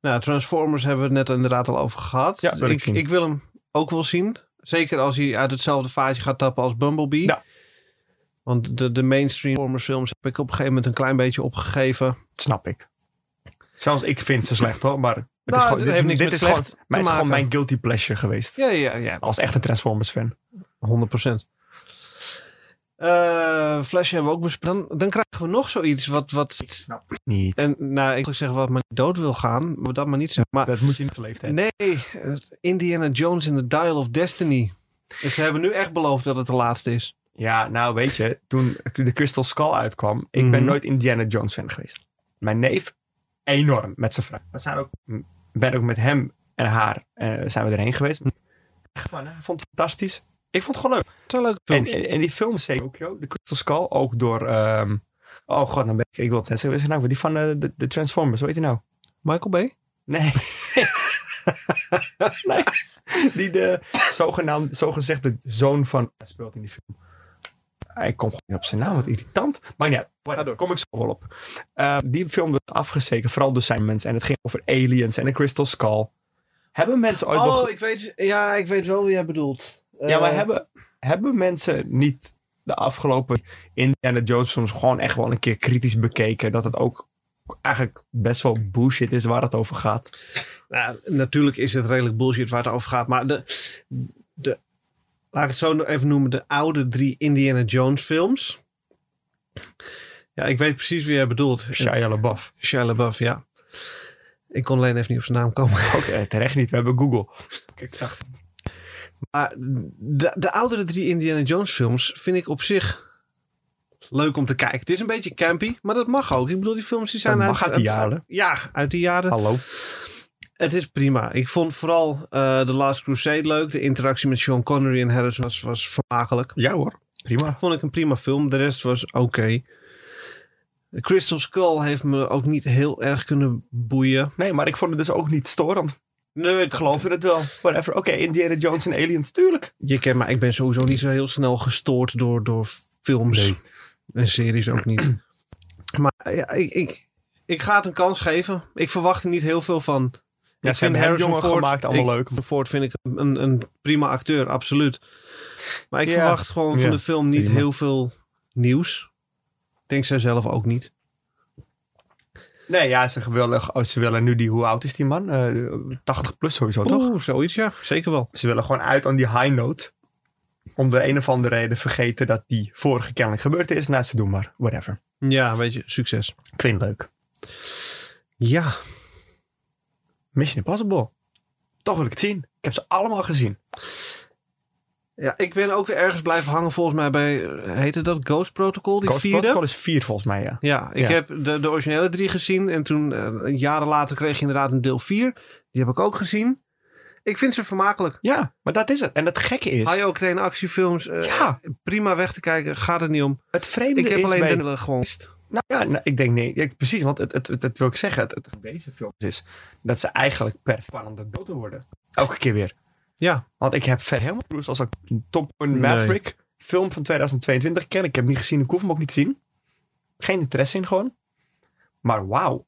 Nou, Transformers hebben we het net inderdaad al over gehad.
Ja, wil ik
ik,
zien.
wil hem ook wel zien. Zeker als hij uit hetzelfde vaatje gaat tappen als Bumblebee.
Ja.
Want de, de mainstream Transformers films heb ik op een gegeven moment een klein beetje opgegeven.
Snap ik. Zelfs ik vind ze slecht hoor, maar het
Nou,
is gewoon,
dit
dit, is-
heeft niks
dit
met
is,
slecht
gewoon,
te
maar het is gewoon
maken.
mijn guilty pleasure geweest.
Ja, ja, ja.
Als echte Transformers fan.
100 Eh, Flash hebben we ook besproken. Dan, dan krijgen we nog zoiets wat... wat
Niet.
en, nou, ik wil zeggen wat maar niet dood wil gaan. maar Dat maar niet zeggen. Maar
dat moet je niet te leeftijd.
Nee, eh, Indiana Jones in the Dial of Destiny. En ze hebben nu echt beloofd dat het de laatste is.
Ja, nou weet je, toen de Crystal Skull uitkwam, ik
Mhm.
ben nooit Indiana Jones fan geweest. Mijn neef, enorm met zijn vrouw. We zijn ook, m- ben ook met hem en haar eh, zijn we erheen geweest. Echt van, hij vond het fantastisch. Ik vond het gewoon leuk.
Het zijn leuke
En,
films.
en, en die film zeker ook, joh. De Crystal Skull, ook door... ehm, oh god, dan ben ik, ik wil het net zeggen. wat is het nou? Die van eh, de, de Transformers, hoe heet die nou?
Michael Bay?
Nee. nee. Die de zogenaamd, zogezegde zoon van... Hij speelt in die film. Ik kom gewoon niet op zijn naam, wat irritant. Maar ja, daar kom ik zo wel op. Eh, die film werd afgezeken, vooral door zijn mensen. En het ging over aliens en de Crystal Skull. Hebben mensen ooit wel... ge-
Oh, ik weet, ja, ik weet wel wie jij bedoelt. Eh,
ja, maar hebben, hebben mensen niet de afgelopen Indiana Jones soms gewoon echt wel een keer kritisch bekeken? Dat het ook eigenlijk best wel bullshit is waar het over gaat.
Nou, natuurlijk is het redelijk bullshit waar het over gaat. Maar de, de, laat ik het zo nog even noemen, de oude drie Indiana Jones films. Ja, ik weet precies wie jij bedoelt.
Shia LaBeouf.
Shia LaBeouf, ja. Ik kon alleen even niet op zijn naam komen.
Ook eh, terecht niet, we hebben Google. Ik zag...
Maar de, de oudere drie Indiana Jones films vind ik op zich leuk om te kijken. Het is een beetje campy, maar dat mag ook. Ik bedoel, die films die zijn
Dat
uit,
mag uit die jaren.
Ja, uit die jaren.
Hallo.
Het is prima. Ik vond vooral eh The Last Crusade leuk. De interactie met Sean Connery en Harrison was, was vermakelijk.
Ja hoor, prima.
Vond ik een prima film. De rest was oké. De Crystal Skull heeft me ook niet heel erg kunnen boeien.
Nee, maar ik vond het dus ook niet storend.
Nee,
Ik geloofde het wel. Whatever. Oké, Indiana Jones en Aliens, tuurlijk.
Je kent mij, ik ben sowieso niet zo heel snel gestoord door, door films en series ook niet. Maar ja, ik, ik, ik ga het een kans geven. Ik verwacht er niet heel veel van.
Ja,
ik
ze hebben hem jonger
Ford,
gemaakt, allemaal
ik-
leuk.
Ford vind ik een, een prima acteur, absoluut. Maar ik
Ja.
verwacht gewoon
Ja,
van de film niet
prima.
heel veel nieuws. Denkt zij zelf ook niet.
Nee, ja, ze willen, oh, ze willen nu die, hoe oud is die man? Eh, 80 plus sowieso, toch?
Oeh, zoiets ja, zeker wel.
Ze willen gewoon uit aan die high note. Om de een of andere reden vergeten dat die vorige kennelijk gebeurd is. Nou, ze doen maar. Whatever.
Ja, weet je, succes.
Ik vind het leuk.
Ja,
Mission Impossible. Toch wil ik het zien. Ik heb ze allemaal gezien.
ja ik ben ook weer ergens blijven hangen volgens mij bij, eh, heette dat Ghost Protocol, die
Ghost
vierde?
Protocol is vier volgens mij, ja.
Ja, ik
Ja.
heb de, de originele drie gezien. En toen, eh, jaren later, kreeg je inderdaad een deel vier. Die heb ik ook gezien. Ik vind ze vermakelijk.
Ja, maar dat is het. En het gekke is...
Hou je ook tegen actiefilms eh,
Ja,
prima weg te kijken, gaat het niet om.
het vreemde
Ik heb
is
alleen
bij...
de gewoon.
Nou ja, nou, ik denk nee. Ja, precies, want het, het, het, het wil ik zeggen. Het, het deze films is dat ze eigenlijk per spannende beelden worden. Elke keer weer.
Ja.
Want ik heb verder helemaal Bruce als een Top Gun
Nee.
Maverick film van 2022 ken. Ik heb hem niet gezien, ik hoef hem ook niet te zien. Geen interesse in gewoon. Maar wauw.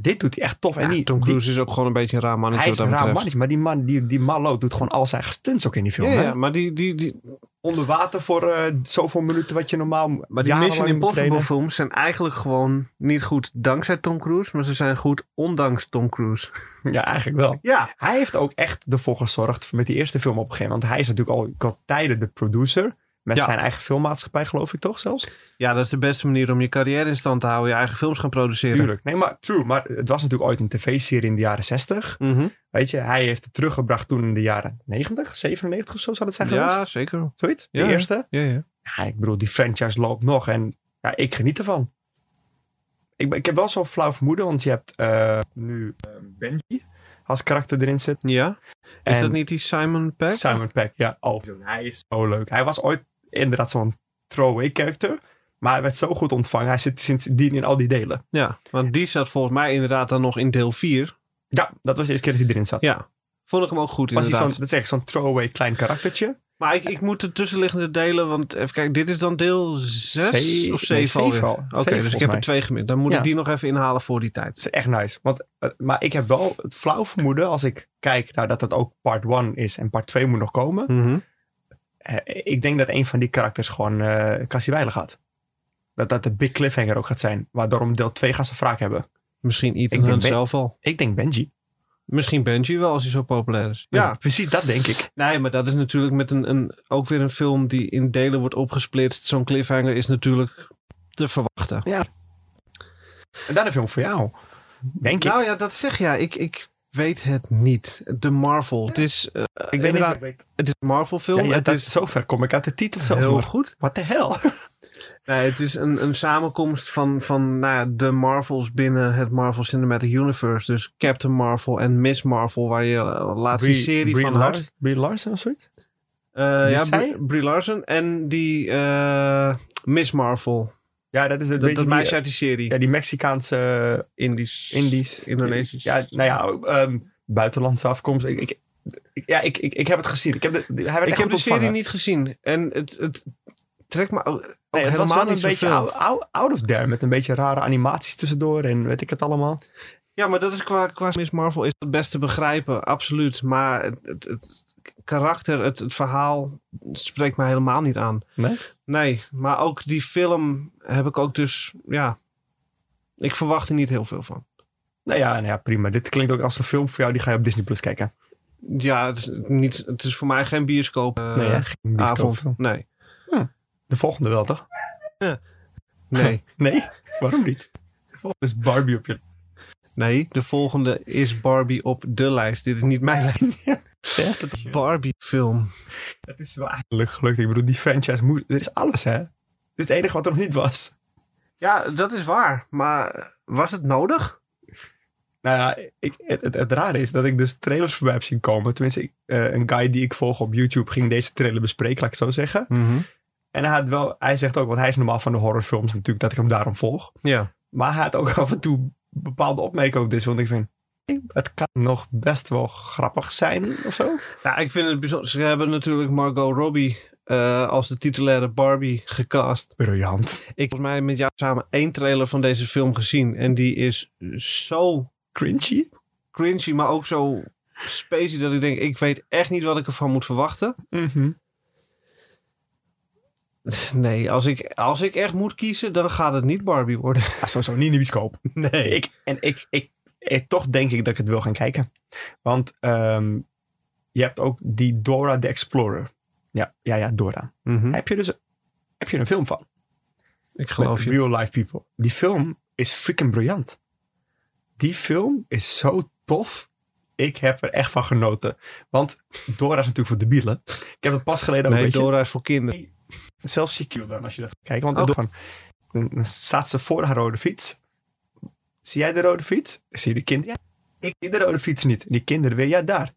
Dit doet hij echt tof. en
Ja,
die,
Tom
die-
Cruise is ook gewoon een beetje een raar mannetje.
hij is
wat
een
dat
raar
betreft.
mannetje. Maar die man, die, die Malo doet gewoon al zijn stunts ook in die film.
Ja,
hè?
ja, maar die, die, die,
Onder water voor eh, zoveel minuten wat je normaal
maar die Mission
jarenlang moet
Impossible
trainen.
films zijn eigenlijk gewoon niet goed dankzij Tom Cruise. Maar ze zijn goed ondanks Tom Cruise.
Ja, eigenlijk wel.
Ja.
Hij heeft ook echt ervoor gezorgd met die eerste film op een gegeven moment. Want hij is natuurlijk al, al tijden de producer. Met
Ja.
zijn eigen filmmaatschappij, geloof ik toch zelfs?
Ja, dat is de beste manier om je carrière in stand te houden. Je eigen films gaan produceren.
Tuurlijk. Nee, maar true. Maar het was natuurlijk ooit een tv-serie in de jaren 60.
Mhm.
Weet je, hij heeft het teruggebracht toen in de jaren 90, 97 of zo zou dat zijn
Ja,
geweest.
zeker.
Zoiets?
Ja.
De eerste?
Ja, ja.
Ja, ik bedoel, die franchise loopt nog en ja, ik geniet ervan. Ik, ben- ik heb wel zo'n flauw vermoeden, want je hebt eh, nu eh, Benji als karakter erin zit.
ja. Is
En-
dat niet die Simon Peck?
Simon Peck, ja. Oh, hij is zo leuk. Hij was ooit inderdaad zo'n throwaway character. Maar hij werd zo goed ontvangen. Hij zit sindsdien in al die delen.
Ja, want die zat volgens mij inderdaad dan nog in deel 4.
Ja, dat was de eerste keer dat hij erin zat.
Ja, vond ik hem ook goed
was hij zo'n,
inderdaad.
dat is echt zo'n throwaway klein karaktertje.
Maar ik, ik moet de tussenliggende delen, want even kijken, dit is dan deel 6
Zeven-
of 7
nee, zeven al.
Oké,
Zeven
dus
volgens
ik heb er
mij.
twee gemist. Dan moet
Ja.
ik die nog even inhalen voor die tijd.
Dat is echt nice. Want, eh, maar ik heb wel het flauw vermoeden als ik kijk naar dat het ook part 1 is en part 2 moet nog komen.
Mhm.
Eh, ik denk dat een van die karakters gewoon eh Cassie Weiler gaat. Dat dat de big cliffhanger ook gaat zijn. Waardoor deel 2 gaan ze wraak hebben.
Misschien
Ik
Ethan
denk
Hunt
Ben-
zelf al.
Ik denk Benji.
Misschien Benji wel, als hij zo populair is. Ja.
precies dat denk ik.
nee, maar dat is natuurlijk met een, een, ook weer een film die in delen wordt opgesplitst. Zo'n cliffhanger is natuurlijk te verwachten.
En dan een film voor jou. Denk ik.
Nou ja, dat zeg ja. Ik, ik weet het niet. De Marvel. Het is, eh,
Ik weet
inderdaad,
niet. Ik
het is een Marvel film.
ja, ja,
het
dat,
is
Zover kom ik uit de titel zelfs.
heel
maar.
goed.
What the hell?
Nee, het is een, een samenkomst van, van nou ja, de Marvels binnen het Marvel Cinematic Universe. Dus Captain Marvel en Miss Marvel, waar je eh, laatst een serie van had.
Brie Larson of zoiets?
Eh,
Die
ja,
zij?
Brie, Brie Larson en die eh, Miss Marvel.
Ja, dat is het.
Dat,
weet
dat
je die, eh,
meisje uit die serie.
ja, die Mexicaanse
Indisch.
Indisch.
Indonesisch.
Ja, nou ja, ehm, buitenlandse afkomst. Ik, ik, ik- ja, ik, ik, ik heb het gezien. Ik heb de, de- hij werd
Ik
echt
heb
goed
de
ontvangen.
serie niet gezien. En het, het trekt me ook
Nee, het was
helemaal
wel
niet
een beetje
zoveel.
out, out- out of there. Met een beetje rare animaties tussendoor en weet ik het allemaal.
Ja, maar dat is qua, qua Miss Marvel is het best te begrijpen, absoluut. Maar het, het, het karakter, het, het verhaal spreekt mij helemaal niet aan.
Nee?
Nee, maar ook die film heb ik ook dus, ja, ik verwacht er niet heel veel van.
Nou ja, nou ja, prima. Dit klinkt ook als een film voor jou. Die ga je op Disney Plus kijken.
Ja, het is, niet, het is voor mij geen bioscoop, eh,
nee, hè? Geen
avond.
bioscoopfilm.
Nee,
De volgende wel, toch?
nee,
Nee? Waarom niet? Dus Barbie op je
nee. De volgende is Barbie op de lijst. Dit is niet mijn lijst.
zeg. Dat,
Barbie film.
dat is wel eigenlijk gelukt. Ik bedoel, die franchise moet... Er is alles, hè? Dit is het enige wat er nog niet was.
Ja, dat is waar. Maar was het nodig?
Nou ja, ik, het, het, het rare is dat ik dus trailers voorbij heb zien komen. Tenminste, ik, eh, een guy die ik volg op YouTube ging deze trailer bespreken, laat ik het zo zeggen. En hij, had wel, hij zegt ook, want hij is normaal van de horrorfilms natuurlijk, dat ik hem daarom volg.
Ja.
Maar hij had ook af en toe bepaalde opmerkingen over dit. Want ik vind, het kan nog best wel grappig zijn of zo.
Ja, ik vind het bijzonder. Ze hebben natuurlijk Margot Robbie eh, als de titulaire Barbie gecast.
Briljant.
Ik heb volgens mij met jou samen één trailer van deze film gezien. En die is zo
Cringy.
cringy, maar ook zo spacey Mhm. dat ik denk, ik weet echt niet wat ik ervan moet verwachten. Nee, als ik, als ik echt moet kiezen, dan gaat het niet Barbie worden.
Ja, Ah, sowieso niet in de bioscoop.
Nee.
Ik, en ik, ik, eh, toch denk ik dat ik het wil gaan kijken. Want ehm, je hebt ook die Dora the Explorer. Ja, ja, ja, Dora.
Mhm. Hm.
Heb je dus heb je een film van.
Ik geloof
Met
je.
real life people. Die film is freaking briljant. Die film is zo tof. Ik heb er echt van genoten. Want Dora is natuurlijk voor debielen. Ik heb het pas geleden ook een
Nee,
beetje...
Dora is voor kinderen.
Zelfs zie ik je dan als je dat kijkt. Want
Oh.
dan, dan- dan staat ze voor haar rode fiets. Zie jij de rode fiets? Zie je de kind? Ja, ik zie de rode fiets niet. En die kinderen weer, ja daar.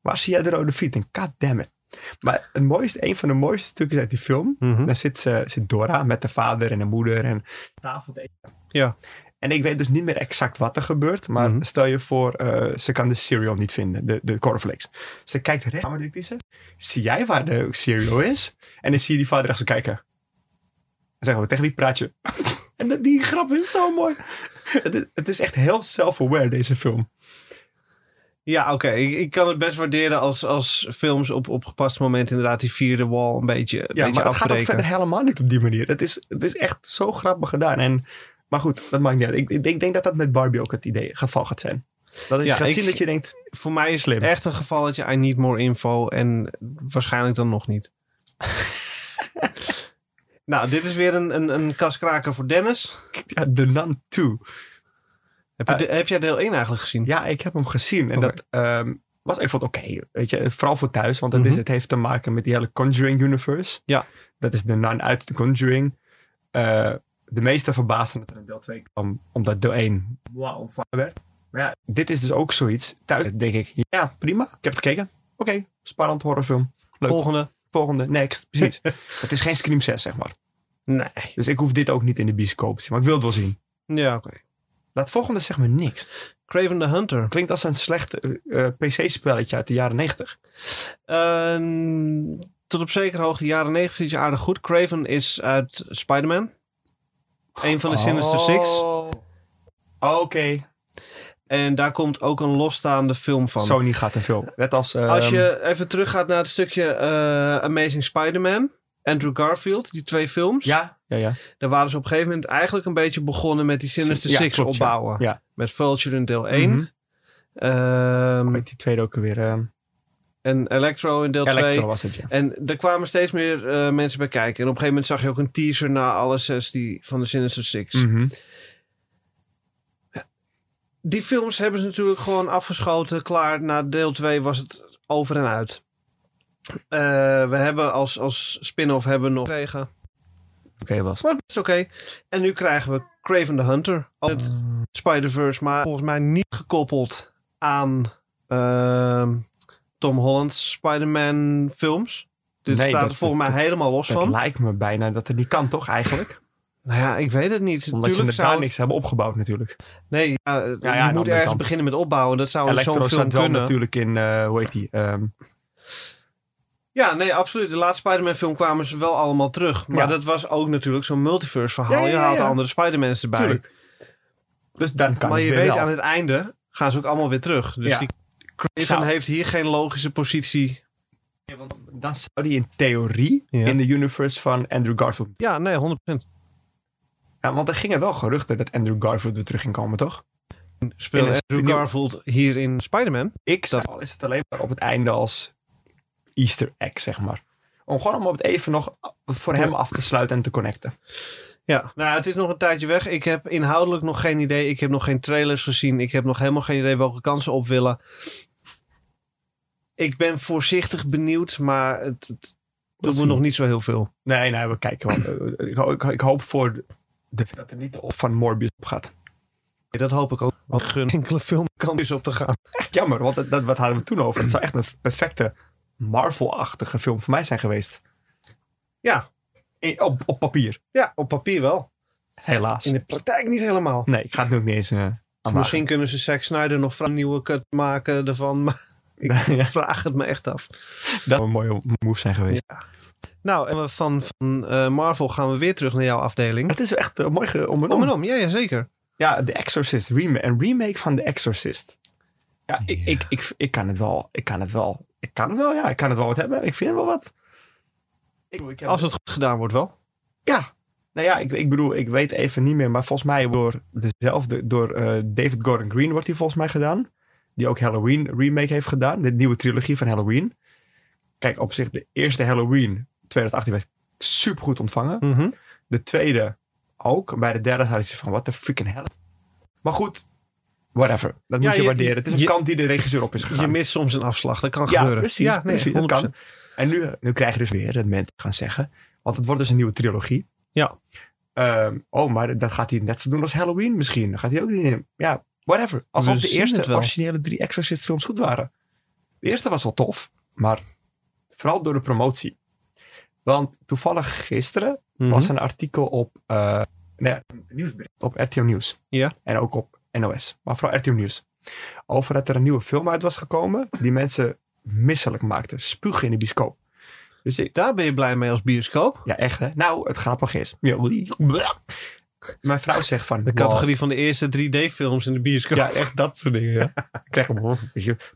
Waar zie jij de rode fiets? En goddammit. Maar het mooiste, een van de mooiste stukjes uit die film.
Mhm.
Dan zit, ze, zit Dora met de vader en de moeder en tafel te eten.
Ja.
En ik weet dus niet meer exact wat er gebeurt. Maar
Mhm.
stel je voor, eh, ze kan de cereal niet vinden, de, de cornflakes. Ze kijkt recht aan, maar denkt ze, zie jij waar de cereal is? En dan zie je die vader echt zo kijken. En zeggen we, tegen wie praat je? en dat- die grap is zo mooi. het, is, het is echt heel self-aware, deze film.
Ja, oké. Ik, ik kan het best waarderen als, als films op, op gepast moment inderdaad die vierde wall een beetje, een
Ja,
beetje
maar het gaat ook
afbreken.
verder helemaal niet op die manier. Het is, het is echt zo grappig gedaan. En, maar goed, dat maakt niet uit. Ik, ik denk, ik denk dat dat met Barbie ook het idee, geval gaat zijn. Dat is,
Ja,
je gaat
ik-
zien dat je denkt,
Voor mij is
Slim.
het echt een gevalletje. I need more info. En waarschijnlijk dan nog niet. nou, dit is weer een, een, een kaskraker voor Dennis.
ja, The Nun 2.
Heb, je de- heb jij deel 1 eigenlijk gezien?
Eh. Ja, ik heb hem gezien. En
Oké.
dat ehm, was, ik vond het oké. weet je, vooral voor thuis, want het,
Mhm.
is, het heeft te maken met die hele Conjuring Universe.
Ja.
Dat is de nun uit de Conjuring. Eh, de meeste verbaasden dat er een deel 2 kwam, omdat deel 1 wow, ontvangen werd. Maar ja, dit is dus ook zoiets. Thuis denk ik, ja, prima. Ik heb het gekeken. Oké, spannend horrorfilm. Leuk.
Volgende.
Volgende, next. Precies. het is geen Scream 6, zeg maar.
Nee.
Dus ik hoef dit ook niet in de bioscoop te zien, maar ik wil het wel zien.
Ja, oké.
Laat volgende zeg maar niks.
Craven the Hunter.
Klinkt als een slecht eh, eh, PC-spelletje uit de jaren 90.
Ehm, tot op zekere hoogte, jaren 90 zit je aardig goed. Craven is uit Spider-Man. Een van de Sinister Six.
Oh. Oké.
En daar komt ook een losstaande film van.
Sony gaat een film. Net als... ehm,
Als je even teruggaat naar het stukje eh, Amazing Spider-Man. Andrew Garfield, die twee films.
Ja, ja, ja.
Daar waren ze op een gegeven moment eigenlijk een beetje begonnen met die Sinister
Ja,
Six
klopt, ja.
opbouwen.
Ja.
Met Vulture in deel 1.
Mhm. Met die tweede ook weer. ehm
en Electro in deel 2.
Electro was het, ja.
En er kwamen steeds meer eh, mensen bij kijken. En op een gegeven moment zag je ook een teaser na alle zes die, van de Sinister Six.
Mhm.
Die films hebben ze natuurlijk gewoon afgeschoten. Klaar, na deel 2 was het over en uit. Eh, we hebben als, als spin-off hebben we nog gekregen.
Oké, was.
Maar dat is oké. En nu krijgen we Craven the Hunter. Ook Het Spider-Verse, maar volgens mij niet gekoppeld aan ehm, Tom Holland's Spider-Man films. Dit
Nee,
staat
dat-
er volgens mij helemaal los
Het
van.
lijkt me bijna dat het niet kan, toch, eigenlijk?
Nou ja, ik weet het niet.
Omdat ze
Tuurlijk
inderdaad
zou...
niks hebben opgebouwd, natuurlijk.
Nee, ja,
ja, aan de
je moet
andere
ergens
kant.
beginnen met opbouwen. Dat zou in
Electro
zo'n film
staat wel
kunnen.
natuurlijk in... eh, hoe heet die? ehm,
Ja, nee, absoluut. De laatste Spider-Man film kwamen ze wel allemaal terug. Maar
Ja.
dat was ook natuurlijk zo'n multiverse verhaal.
Ja, ja,
Je
ja,
haalt
ja.
andere Spider-Mans erbij.
tuurlijk. Dus dan kan
maar
het
je
weer
weet,
wel.
aan het einde gaan ze ook allemaal weer terug. Dus
Ja.
die
Zou-
Craven heeft hier geen logische positie.
Dan zou die in theorie
Ja.
in de universe van Andrew Garfield...
Ja, nee, 100%.
Ja, want er gingen wel geruchten dat Andrew Garfield weer terug ging komen, toch?
Speelt
In een
Andrew
spin-
Garfield hier in Spider-Man?
Ik dat... al is het alleen maar op het einde als Easter egg, zeg maar. Om gewoon om op het even nog voor hem af te sluiten en te connecten.
Ja. Nou, het is nog een tijdje weg. Ik heb inhoudelijk nog geen idee. Ik heb nog geen trailers gezien. Ik heb nog helemaal geen idee welke kansen op willen. Ik ben voorzichtig benieuwd, maar het, het doet me
zien.
nog niet zo heel veel.
Nee, nee, we kijken. wel. ik, ho- ik, ho- ik hoop voor de, dat het niet de op van Morbius op gaat.
Nee, Dat hoop ik ook. Want gun enkele film kan is op te gaan.
Echt jammer, want dat, dat, wat hadden we toen over? Het zou echt een perfecte Marvel-achtige film voor mij zijn geweest.
Ja.
In- op, op papier,
Ja, op papier wel.
helaas.
In de praktijk niet helemaal.
Nee, ik ga het nu ook niet eens eh aanmaken.
Misschien kunnen ze Zack Snyder nog een nieuwe cut maken ervan. Maar ik vraag het me echt af.
Dat zou een mooie move zijn geweest.
Nou, en we van, van eh, Marvel gaan we weer terug naar jouw afdeling.
Het is echt eh, mooi ge- om en
Om
om.
en om, ja, ja zeker.
Ja, The Exorcist. Remake, een remake van The Exorcist. Ja, ik,
Ja.
Ik, ik, ik kan het wel. Ik kan het wel. Ik kan het wel, ja. Ik kan het wel wat hebben. Ik vind het wel wat. Ik, ik heb-
Als het goed gedaan wordt wel.
Ja. Nou ja, ik, ik bedoel, ik weet even niet meer. Maar volgens mij door dezelfde, door eh, David Gordon Green wordt hij volgens mij gedaan. Die ook Halloween remake heeft gedaan. De nieuwe trilogie van Halloween. Kijk, op zich de eerste Halloween 2018 werd supergoed ontvangen. De tweede ook. Bij de derde had ze van, wat de freaking hell. Maar goed, whatever. Dat
Ja,
moet je,
je-
waarderen. Het is een
je-
kant die de regisseur op is gegaan.
Je mist soms een afslag, dat kan
Ja,
gebeuren.
precies.
nee,
precies dat
100%.
kan. En nu, nu krijg je dus weer dat mensen gaan zeggen. Want het wordt dus een nieuwe trilogie.
Ja.
Ehm, oh, maar dat gaat hij net zo doen als Halloween misschien. Dan gaat hij ook niet. Ja, whatever. Alsof
We
de
zien het
eerste
wel.
originele drie Exorcist films goed waren. De eerste was wel tof, maar vooral door de promotie. Want toevallig gisteren
Mhm.
was een artikel op, eh, nee, een nieuwsbericht op RTL Nieuws.
Ja.
En ook op NOS, maar vooral RTL Nieuws. Over dat er een nieuwe film uit was gekomen die mensen misselijk maakte. Spugen in de bioscoop. Dus ik,
Daar ben je blij mee als bioscoop.
ja, echt hè. Nou, het grappige is. Mijn vrouw zegt van.
De
wow.
categorie van de eerste 3D-films in de bioscoop.
Ja, echt dat soort dingen. Ja. ik krijg hem hoor.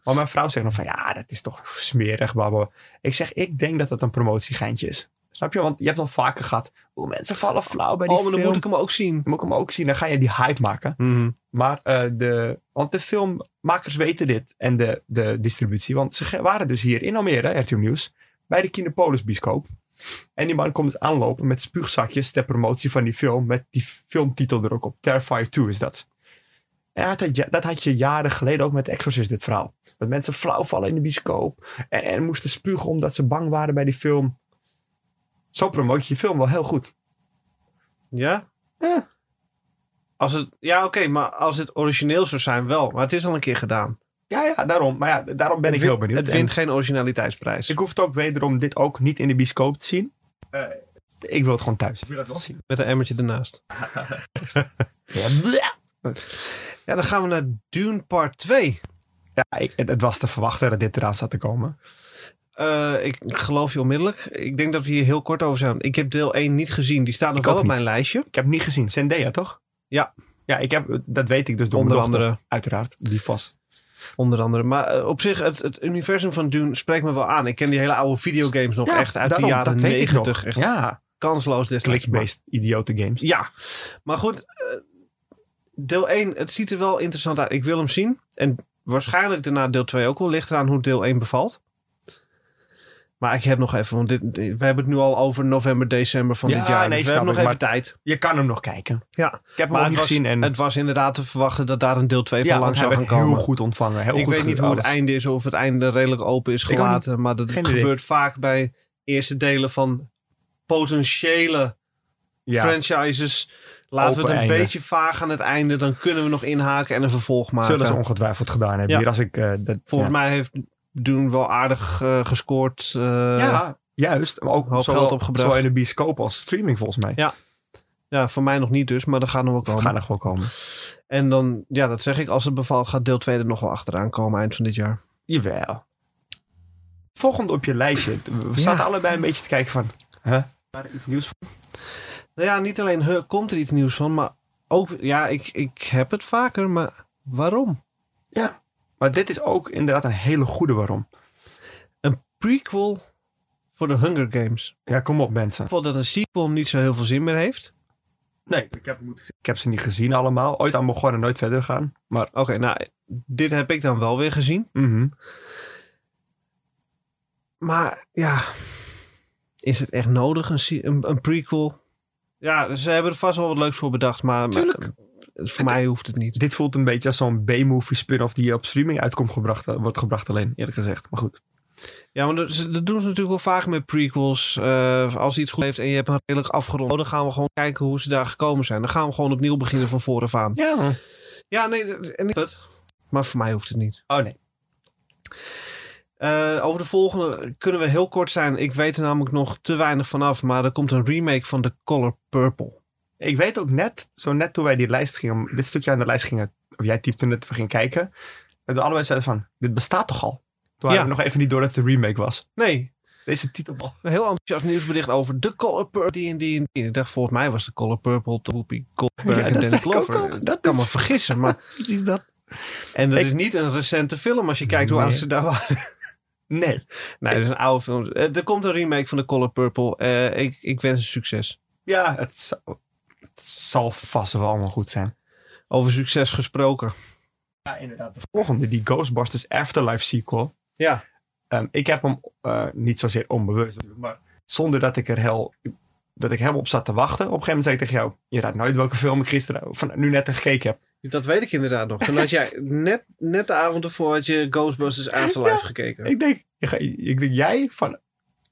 Maar mijn vrouw zegt nog van ja, dat is toch smerig. Babbel. Ik zeg, ik denk dat dat een promotiegeintje is. Snap je? Want je hebt al vaker gehad. Hoe mensen vallen flauw bij die
oh, maar dan
film.
moet ik hem ook zien.
Dan moet ik hem ook zien. Dan ga je die hype maken. Maar eh, de, want de filmmakers weten dit. En de, de distributie. Want ze ge- waren dus hier in Almere, RTL Nieuws. Bij de Kinepolis bioscoop. En die man komt dus aanlopen met spuugzakjes ter promotie van die film. Met die filmtitel er ook op. Terrifier 2 is dat. En dat, had je- dat had je jaren geleden ook met Exorcist, dit verhaal. Dat mensen flauw vallen in de bioscoop. En, en moesten spugen omdat ze bang waren bij die film. Zo promoot je je film wel heel goed.
Ja?
Ja.
Als het, ja, oké, maar als het origineel zou zijn, wel. Maar het is al een keer gedaan.
Ja, ja, daarom. Maar ja, daarom ben ik
Het
heel
win-
benieuwd.
Het
En-
wint geen originaliteitsprijs.
Dus Ik hoef het ook wederom dit ook niet in de bioscoop te zien. Eh, ik wil het gewoon thuis. Ik wil dat wel zien.
Met een emmertje ernaast. Ja, dan gaan we naar Dune Part 2.
Ja, ik, het, het was te verwachten dat dit eraan zat te komen.
Eh, ik geloof je onmiddellijk. Ik denk dat we hier heel kort over zijn. Ik heb deel 1 niet gezien. Die staat nog
Ik
wel
ook
op
niet.
mijn lijstje.
Ik heb hem niet gezien. Zendaya, toch?
Ja.
Ja, ik heb, dat weet ik dus door
Onder
mijn dochter.
andere,
Uiteraard, die vast.
onder andere. Maar eh, op zich, het, het universum van Dune spreekt me wel aan. Ik ken die hele oude videogames nog echt uit
daarom,
de jaren
dat weet ik nog.
90. Echt
Ja,
kansloos destijds. Maar-
click-based idiote games.
Ja, maar goed. eh, Deel 1, het ziet er wel interessant uit. Ik wil hem zien. En waarschijnlijk daarna deel 2 ook wel. Ligt eraan hoe deel 1 bevalt. Maar ik heb nog even, want dit, dit- we hebben het nu al over november, december van
Ja,
dit jaar.
nee,
dus we
snap
hebben nog
ik,
even tijd.
Je kan hem nog kijken.
Ja.
Ik heb
Maar
hem nog
het
niet
was,
gezien. En,
het was inderdaad te verwachten dat daar een deel 2
ja,
van
want
lang
hij
zou gaan
werd
komen.
heel goed ontvangen. Heel
ik
goed
weet niet
gedaan,
hoe het
alles.
einde is, of het einde redelijk open is
ook niet.
gelaten. Maar dat
Geen idee.
gebeurt vaak bij eerste delen van potentiële
Ja.
franchises. Laten
Open
we het een
einde.
beetje vaag aan het einde. Dan kunnen we nog inhaken en een vervolg maken.
Zullen ze ongetwijfeld gedaan hebben.
Ja.
Hier als ik, eh, dat,
Volgens mij heeft Doen wel aardig eh, gescoord. eh,
Ja, juist. Maar ook
hoop
zowel,
geld opgebracht.
zowel in de bioscoop als streaming volgens mij.
Ja, ja, voor mij nog niet dus, maar dat gaat nog wel
Dat
komen.
gaat nog wel komen.
En dan, ja, dat zeg ik. Als het bevalt, gaat deel 2 er nog wel achteraan komen eind van dit jaar.
Jawel. Volgende op je lijstje. We zaten allebei een beetje te kijken van... Huh? Maar iets nieuws van-
Nou ja, niet alleen huh, komt er iets nieuws van, maar ook, ja, ik, ik heb het vaker, maar waarom?
Ja. Maar dit is ook inderdaad een hele goede waarom.
Een prequel voor de Hunger Games.
Ja, kom op mensen.
Bijvoorbeeld dat een sequel niet zo heel veel zin meer heeft.
Nee, ik heb, ik heb ze niet gezien allemaal. Ooit aan begonnen, nooit verder gegaan. Maar
Oké, nou, dit heb ik dan wel weer gezien.
mhm.
Maar ja, is het echt nodig, een, se- een, een prequel? Ja, ze hebben er vast wel wat leuks voor bedacht, maar, maar-
Tuurlijk.
voor mij hoeft het niet.
eh, dit voelt een beetje als zo'n B-movie spin-off die op streaming uitkomt gebracht, wordt gebracht alleen, eerlijk gezegd. Maar goed.
Ja, maar dat, ze- dat doen ze natuurlijk wel vaak met prequels. Eh, als iets goed heeft en je hebt een redelijk afgerond, oh, dan gaan we gewoon kijken hoe ze daar gekomen zijn. Dan gaan we gewoon opnieuw beginnen van vooraf aan.
Ja.
Ja, nee, dat- en ik het. Maar voor mij hoeft het niet.
Oh nee.
Eh, over de volgende kunnen we heel kort zijn. Ik weet er namelijk nog te weinig vanaf, maar er komt een remake van The Color Purple.
Ik weet ook net, zo net toen wij die lijst gingen, dit stukje aan de lijst gingen, of jij typte het, we gingen kijken. En toen allebei zeiden van, dit bestaat toch al? Toen hadden we nog even niet door dat het een remake was.
Nee,
Deze titelbal.
Een heel enthousiast nieuwsbericht over de Color Purple. D&D. Ik dacht, volgens mij was de Color Purple de Whoopi Goldberg en Danny Glover. Ik
Dat
kan me
is
vergissen. Maar,
precies dat.
en dat
Ik-
is niet een recente film als je kijkt hoe
Nee.
oud ze daar waren.
Nee.
Nee, dat is een oude film. Eh, Er komt een remake van The Color Purple. Eh, ik, ik wens een succes.
Ja, het zal, het zal vast wel allemaal goed zijn.
Over succes gesproken.
Ja, inderdaad. De volgende, die Ghostbusters Afterlife sequel.
Ja.
Ehm, ik heb hem eh, niet zozeer onbewust, natuurlijk, maar zonder dat ik er heel, dat ik helemaal op zat te wachten. Op een gegeven moment zei ik tegen jou, je raadt nooit welke film ik gisteren van, nu net gekeken heb.
Dat weet ik inderdaad nog. Toen had jij net, net de avond ervoor had je Ghostbusters Afterlife gekeken.
Ik denk, je ga- ik denk, jij van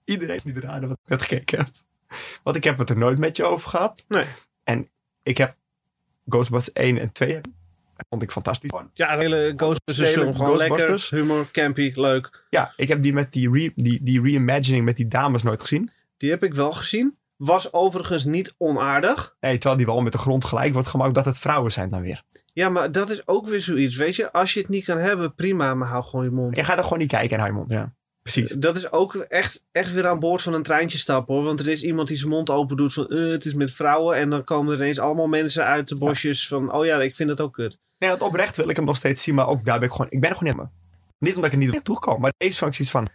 iedereen die raadde wat ik net gekeken heb. Want ik heb het er nooit met je over gehad.
Nee.
En ik heb Ghostbusters 1 en 2 heb- vond ik fantastisch.
Ja, de hele Ghostbusters
Stelen,
film. Gewoon lekker,
Ghostbusters.
humor, campy, leuk.
Ja, ik heb die met die, re, die, die reimagining met die dames nooit gezien.
Die heb ik wel gezien. Was overigens niet onaardig.
Nee, terwijl die wel met de grond gelijk wordt gemaakt dat het vrouwen zijn dan weer.
Ja, maar dat is ook weer zoiets. Weet je, als je het niet kan hebben, prima, maar hou gewoon je mond.
Je gaat er gewoon niet kijken en Raymond. Ja, precies.
Dat is ook echt, echt weer aan boord van een treintje stappen hoor. Want er is iemand die zijn mond open doet van eh, het is met vrouwen. En dan komen er ineens allemaal mensen uit de bosjes van oh ja, ik vind dat ook kut.
Nee, want oprecht wil ik hem nog steeds zien, maar ook daar ben ik gewoon... Ik ben er gewoon helemaal... Niet omdat ik er niet op toekom, maar deze functie is van...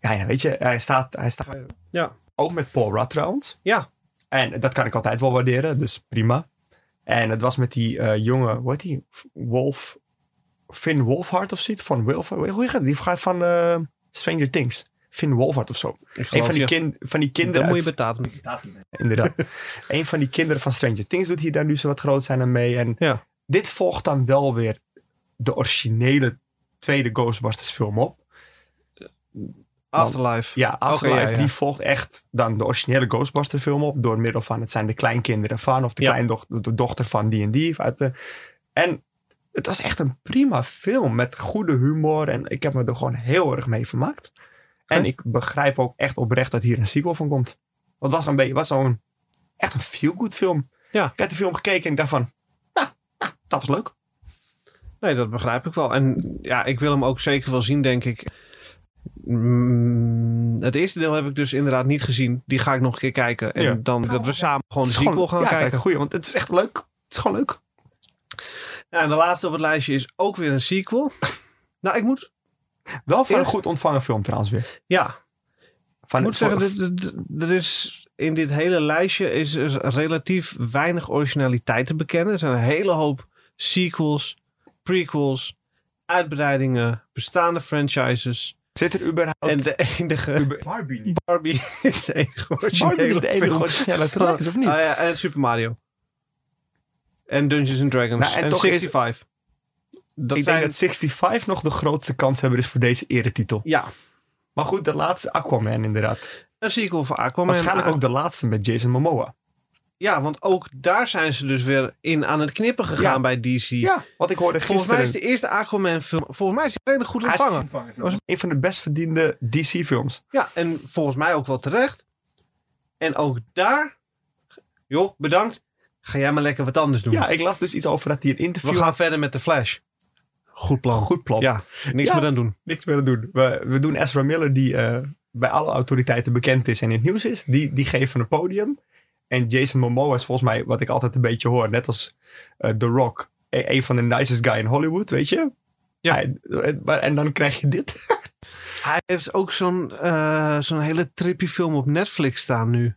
Ja, ja, weet je, hij staat... Hij staat
Ja.
Ook met Paul Rudd trouwens.
Ja.
En dat kan ik altijd wel waarderen, dus prima. En het was met die eh, jonge, hoe heet die? Wolf... Finn Wolfhard of zoiets? Van Wilford? Hoe heet het? Die gaat van eh, Stranger Things. Finn Wolfhard of zo.
Ik
Een van die, kind, van die kinderen
Dan moet je
uit-
betalen.
Inderdaad. een van die kinderen van Stranger Things doet hier daar nu zo wat groot zijn aan mee. En
Ja.
dit volgt dan wel weer de originele tweede Ghostbusters film op.
Afterlife.
Ja, Afterlife,
ja, ja.
die volgt echt dan de originele Ghostbusters film op. Door middel van, het zijn de kleinkinderen van. Of de,
Ja.
kleindoch- de dochter van die en die. Uit de, en het was echt een prima film. Met goede humor. En ik heb me er gewoon heel erg mee vermaakt. En
Oké.
ik begrijp ook echt oprecht dat hier een sequel van komt. Want het was een beetje, was zo'n, echt een feel-good film.
Ja.
Ik had die film gekeken en ik dacht van, nou, nou, dat was leuk.
Nee, dat begrijp ik wel. En ja, ik wil hem ook zeker wel zien, denk ik. Mm, het eerste deel heb ik dus inderdaad niet gezien. Die ga ik nog een keer kijken. En
Ja.
dan dat we samen gewoon de
Het is
sequel gaan
ja,
kijken.
een goeie, want het is echt leuk. Het is gewoon leuk.
Ja, en de laatste op het lijstje is ook weer een sequel. nou, ik moet...
Wel van een
Eerst-
goed ontvangen film trouwens weer.
Ja,
Van,
Ik moet
voor-
zeggen, dit- dit- dit- er is in dit hele lijstje is er relatief weinig originaliteit te bekennen. Er zijn een hele hoop sequels, prequels, uitbreidingen, bestaande franchises.
Zit er überhaupt...
En de enige
Uber- Barbie niet.
Barbie is de enige originele
Barbie is de enige
film.
originele trouwens, of niet?
Ah ja, en Super Mario. En Dungeons and Dragons.
Nou, en
en
toch is-
65. Dat
ik
zijn...
denk dat 65 nog de grootste kanshebber is voor deze eretitel.
Ja,
Maar goed, de laatste Aquaman inderdaad.
een sequel voor Aquaman.
Waarschijnlijk ook de laatste met Jason Momoa.
Ja, want ook daar zijn ze dus weer in aan het knippen gegaan
Ja.
bij DC.
Ja, wat ik hoorde
Volgens mij
gisteren.
is de eerste Aquaman-film. Volgens mij is die redelijk goed
Hij is
ontvangen.
was een van de best verdiende DC-films.
Ja, en volgens mij ook wel terecht. En ook daar. Joh, bedankt. Ga jij maar lekker wat anders doen.
Ja, ik las dus iets over dat hij een
We
interview
gaan verder met de Flash. Goed plan.
Goed plan.
Ja, niks
Ja.
meer aan doen.
Niks meer aan doen. We, we doen Ezra Miller, die eh, bij alle autoriteiten bekend is en in het nieuws is. Die, die geven een podium. En Jason Momoa is volgens mij wat ik altijd een beetje hoor. Net als eh, The Rock. E- een van de nicest guy in Hollywood, weet je?
Ja.
Hij- eh, maar, en dan krijg je dit.
Hij heeft ook zo'n eh, zo'n hele trippy film op Netflix staan nu.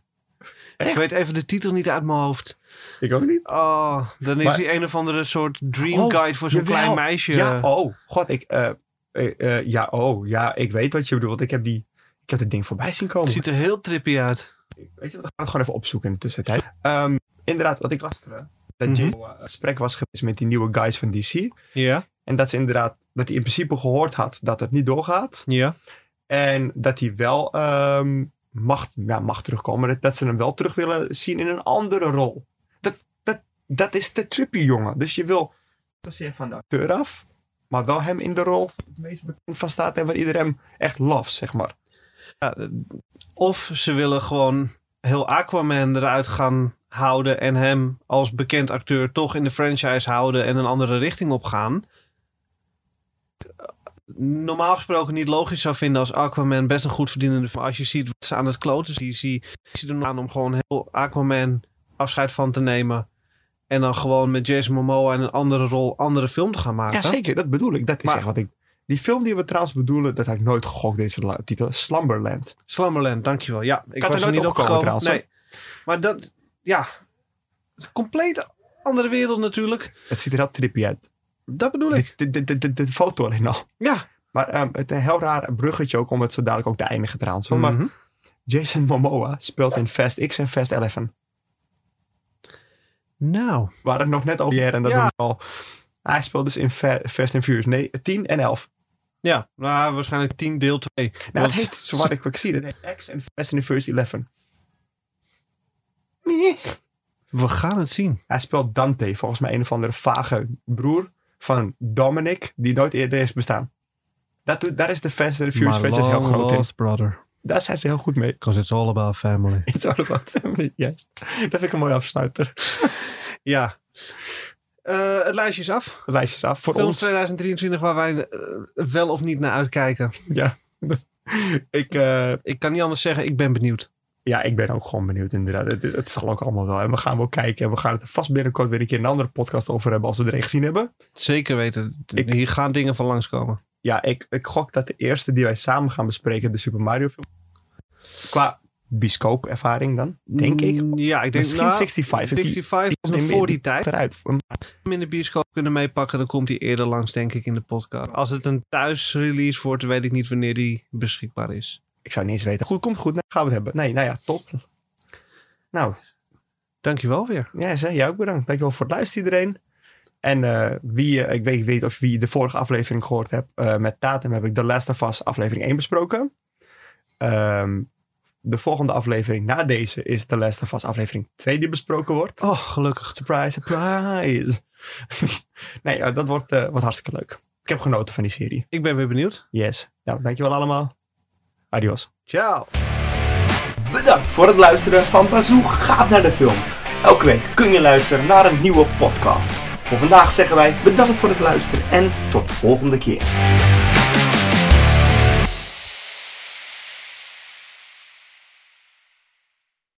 Ik
Echt?
weet even de titel niet uit mijn hoofd.
Ik ook niet.
Oh, dan is
Maar-
hij een of andere soort dream
Oh,
guide voor zo'n
jawel.
klein meisje.
Ja, oh, god, ik... eh, eh, eh, ja, oh, ja, ik weet wat je bedoelt. Ik heb die... Ik heb dit ding voorbij zien komen.
Het ziet er heel trippy uit.
Weet je wat, we gaan het gewoon even opzoeken in de tussentijd. Ehm, inderdaad, wat ik las er, hè,
Mhm.
dat Jason Momoa een gesprek was geweest met die nieuwe guys van DC.
Ja,
En dat ze inderdaad, dat hij in principe gehoord had dat het niet doorgaat.
ja.
En dat hij wel ehm, mag, ja, mag terugkomen. maar Dat, dat ze hem wel terug willen zien in een andere rol. Dat, dat, dat is te trippy, jongen. Dus je wil zeer van de acteur af, maar wel hem in de rol waar het meest bekend van staat en waar iedereen hem echt loves, zeg maar.
Ja, eh, of ze willen gewoon heel Aquaman eruit gaan houden en hem als bekend acteur toch in de franchise houden en een andere richting op gaan. Normaal gesproken niet logisch zou vinden als Aquaman best een goed verdienende film. Als je ziet wat ze aan het kloten is, die zie je er nog aan om gewoon heel Aquaman afscheid van te nemen. En dan gewoon met Jason Momoa in een andere rol, andere film te gaan maken.
Ja, zeker. Dat bedoel ik. Dat is
Maar-
echt wat ik... Die film die we trouwens bedoelen, dat had ik nooit gegokt, deze la- titel. Slumberland.
Slumberland, dankjewel. Ja, ik,
had er nooit
niet
opgekomen trouwens,
Nee. Maar dat, ja, het is een compleet andere wereld natuurlijk.
Het ziet er heel trippy uit.
Dat bedoel ik.
De, de, de, de, de, de foto alleen al.
Ja.
Maar ehm, het een heel raar bruggetje ook om het zo dadelijk ook te eindigen trouwens. hoor. Maar
Mhm.
Jason Momoa speelt in Fast X en Fast 11.
Nou,
We hadden het nog net over hier en dat
Ja.
doen we al. Hij speelt dus in Fa- Fast and Furious nee, 10 en 11.
ja, nou, waarschijnlijk 10 deel 2.
Nou, het heet, zoals ik, ik zie, het heet X en Fast and Furious 11. Nee.
We gaan het zien.
Hij speelt Dante, volgens mij een of andere vage broer van Dominic, die nooit eerder heeft bestaan. Dat, doet- daar is de Fast and Furious franchise heel groot in.
brother,
Daar zijn ze heel goed mee.
because it's all about family.
It's all about family, juist. Dat vind ik een mooie afsluiter.
Ja. Eh, het lijstje is af.
Lijstjes af voor
Film
ons.
2023 waar wij eh, wel of niet naar uitkijken.
Ja. Dat- ik, eh,
Ik kan niet anders zeggen, ik ben benieuwd.
ja, ik ben ook gewoon benieuwd inderdaad. Het, het zal ook allemaal wel. En we gaan wel kijken. En we gaan het er vast binnenkort weer een keer een andere podcast over hebben als we er een gezien hebben.
Zeker weten.
Ik-
Hier gaan dingen van langskomen.
Ja, ik, ik gok dat de eerste die wij samen gaan bespreken de Super Mario film. Qua biscoop ervaring dan, denk ik.
Mm, Ja, ik denk
Misschien
nou,
65. Die-
65
die
was nog
komt in-
voor die tijd.
Eruit.
hem in de bioscoop kunnen meepakken, dan komt hij eerder langs, denk ik, in de podcast. Als het een thuisrelease wordt, weet ik niet wanneer die beschikbaar is.
Ik zou niet eens weten. Goed, komt goed. Nou, gaan we het hebben. Nee, nou ja, top. Nou,
Dankjewel weer.
Ja, zeg, jij ook bedankt. Dankjewel voor het luisteren iedereen. En eh, wie, eh, ik weet niet of wie de vorige aflevering gehoord hebt. eh, met Tatum heb ik The Last of Us aflevering 1 besproken. Ehm, de volgende aflevering na deze is The Last of Us aflevering 2 die besproken wordt.
Oh, gelukkig.
Surprise, surprise. nee, ja, dat wordt eh, wat hartstikke leuk. Ik heb genoten van die serie.
Ik ben weer benieuwd.
Yes. Nou, dankjewel allemaal. Adios.
Ciao.
Bedankt voor het luisteren van Bazoo gaat naar de film. Elke week kun je luisteren naar een nieuwe podcast. Voor vandaag zeggen wij bedankt voor het luisteren en tot de volgende keer.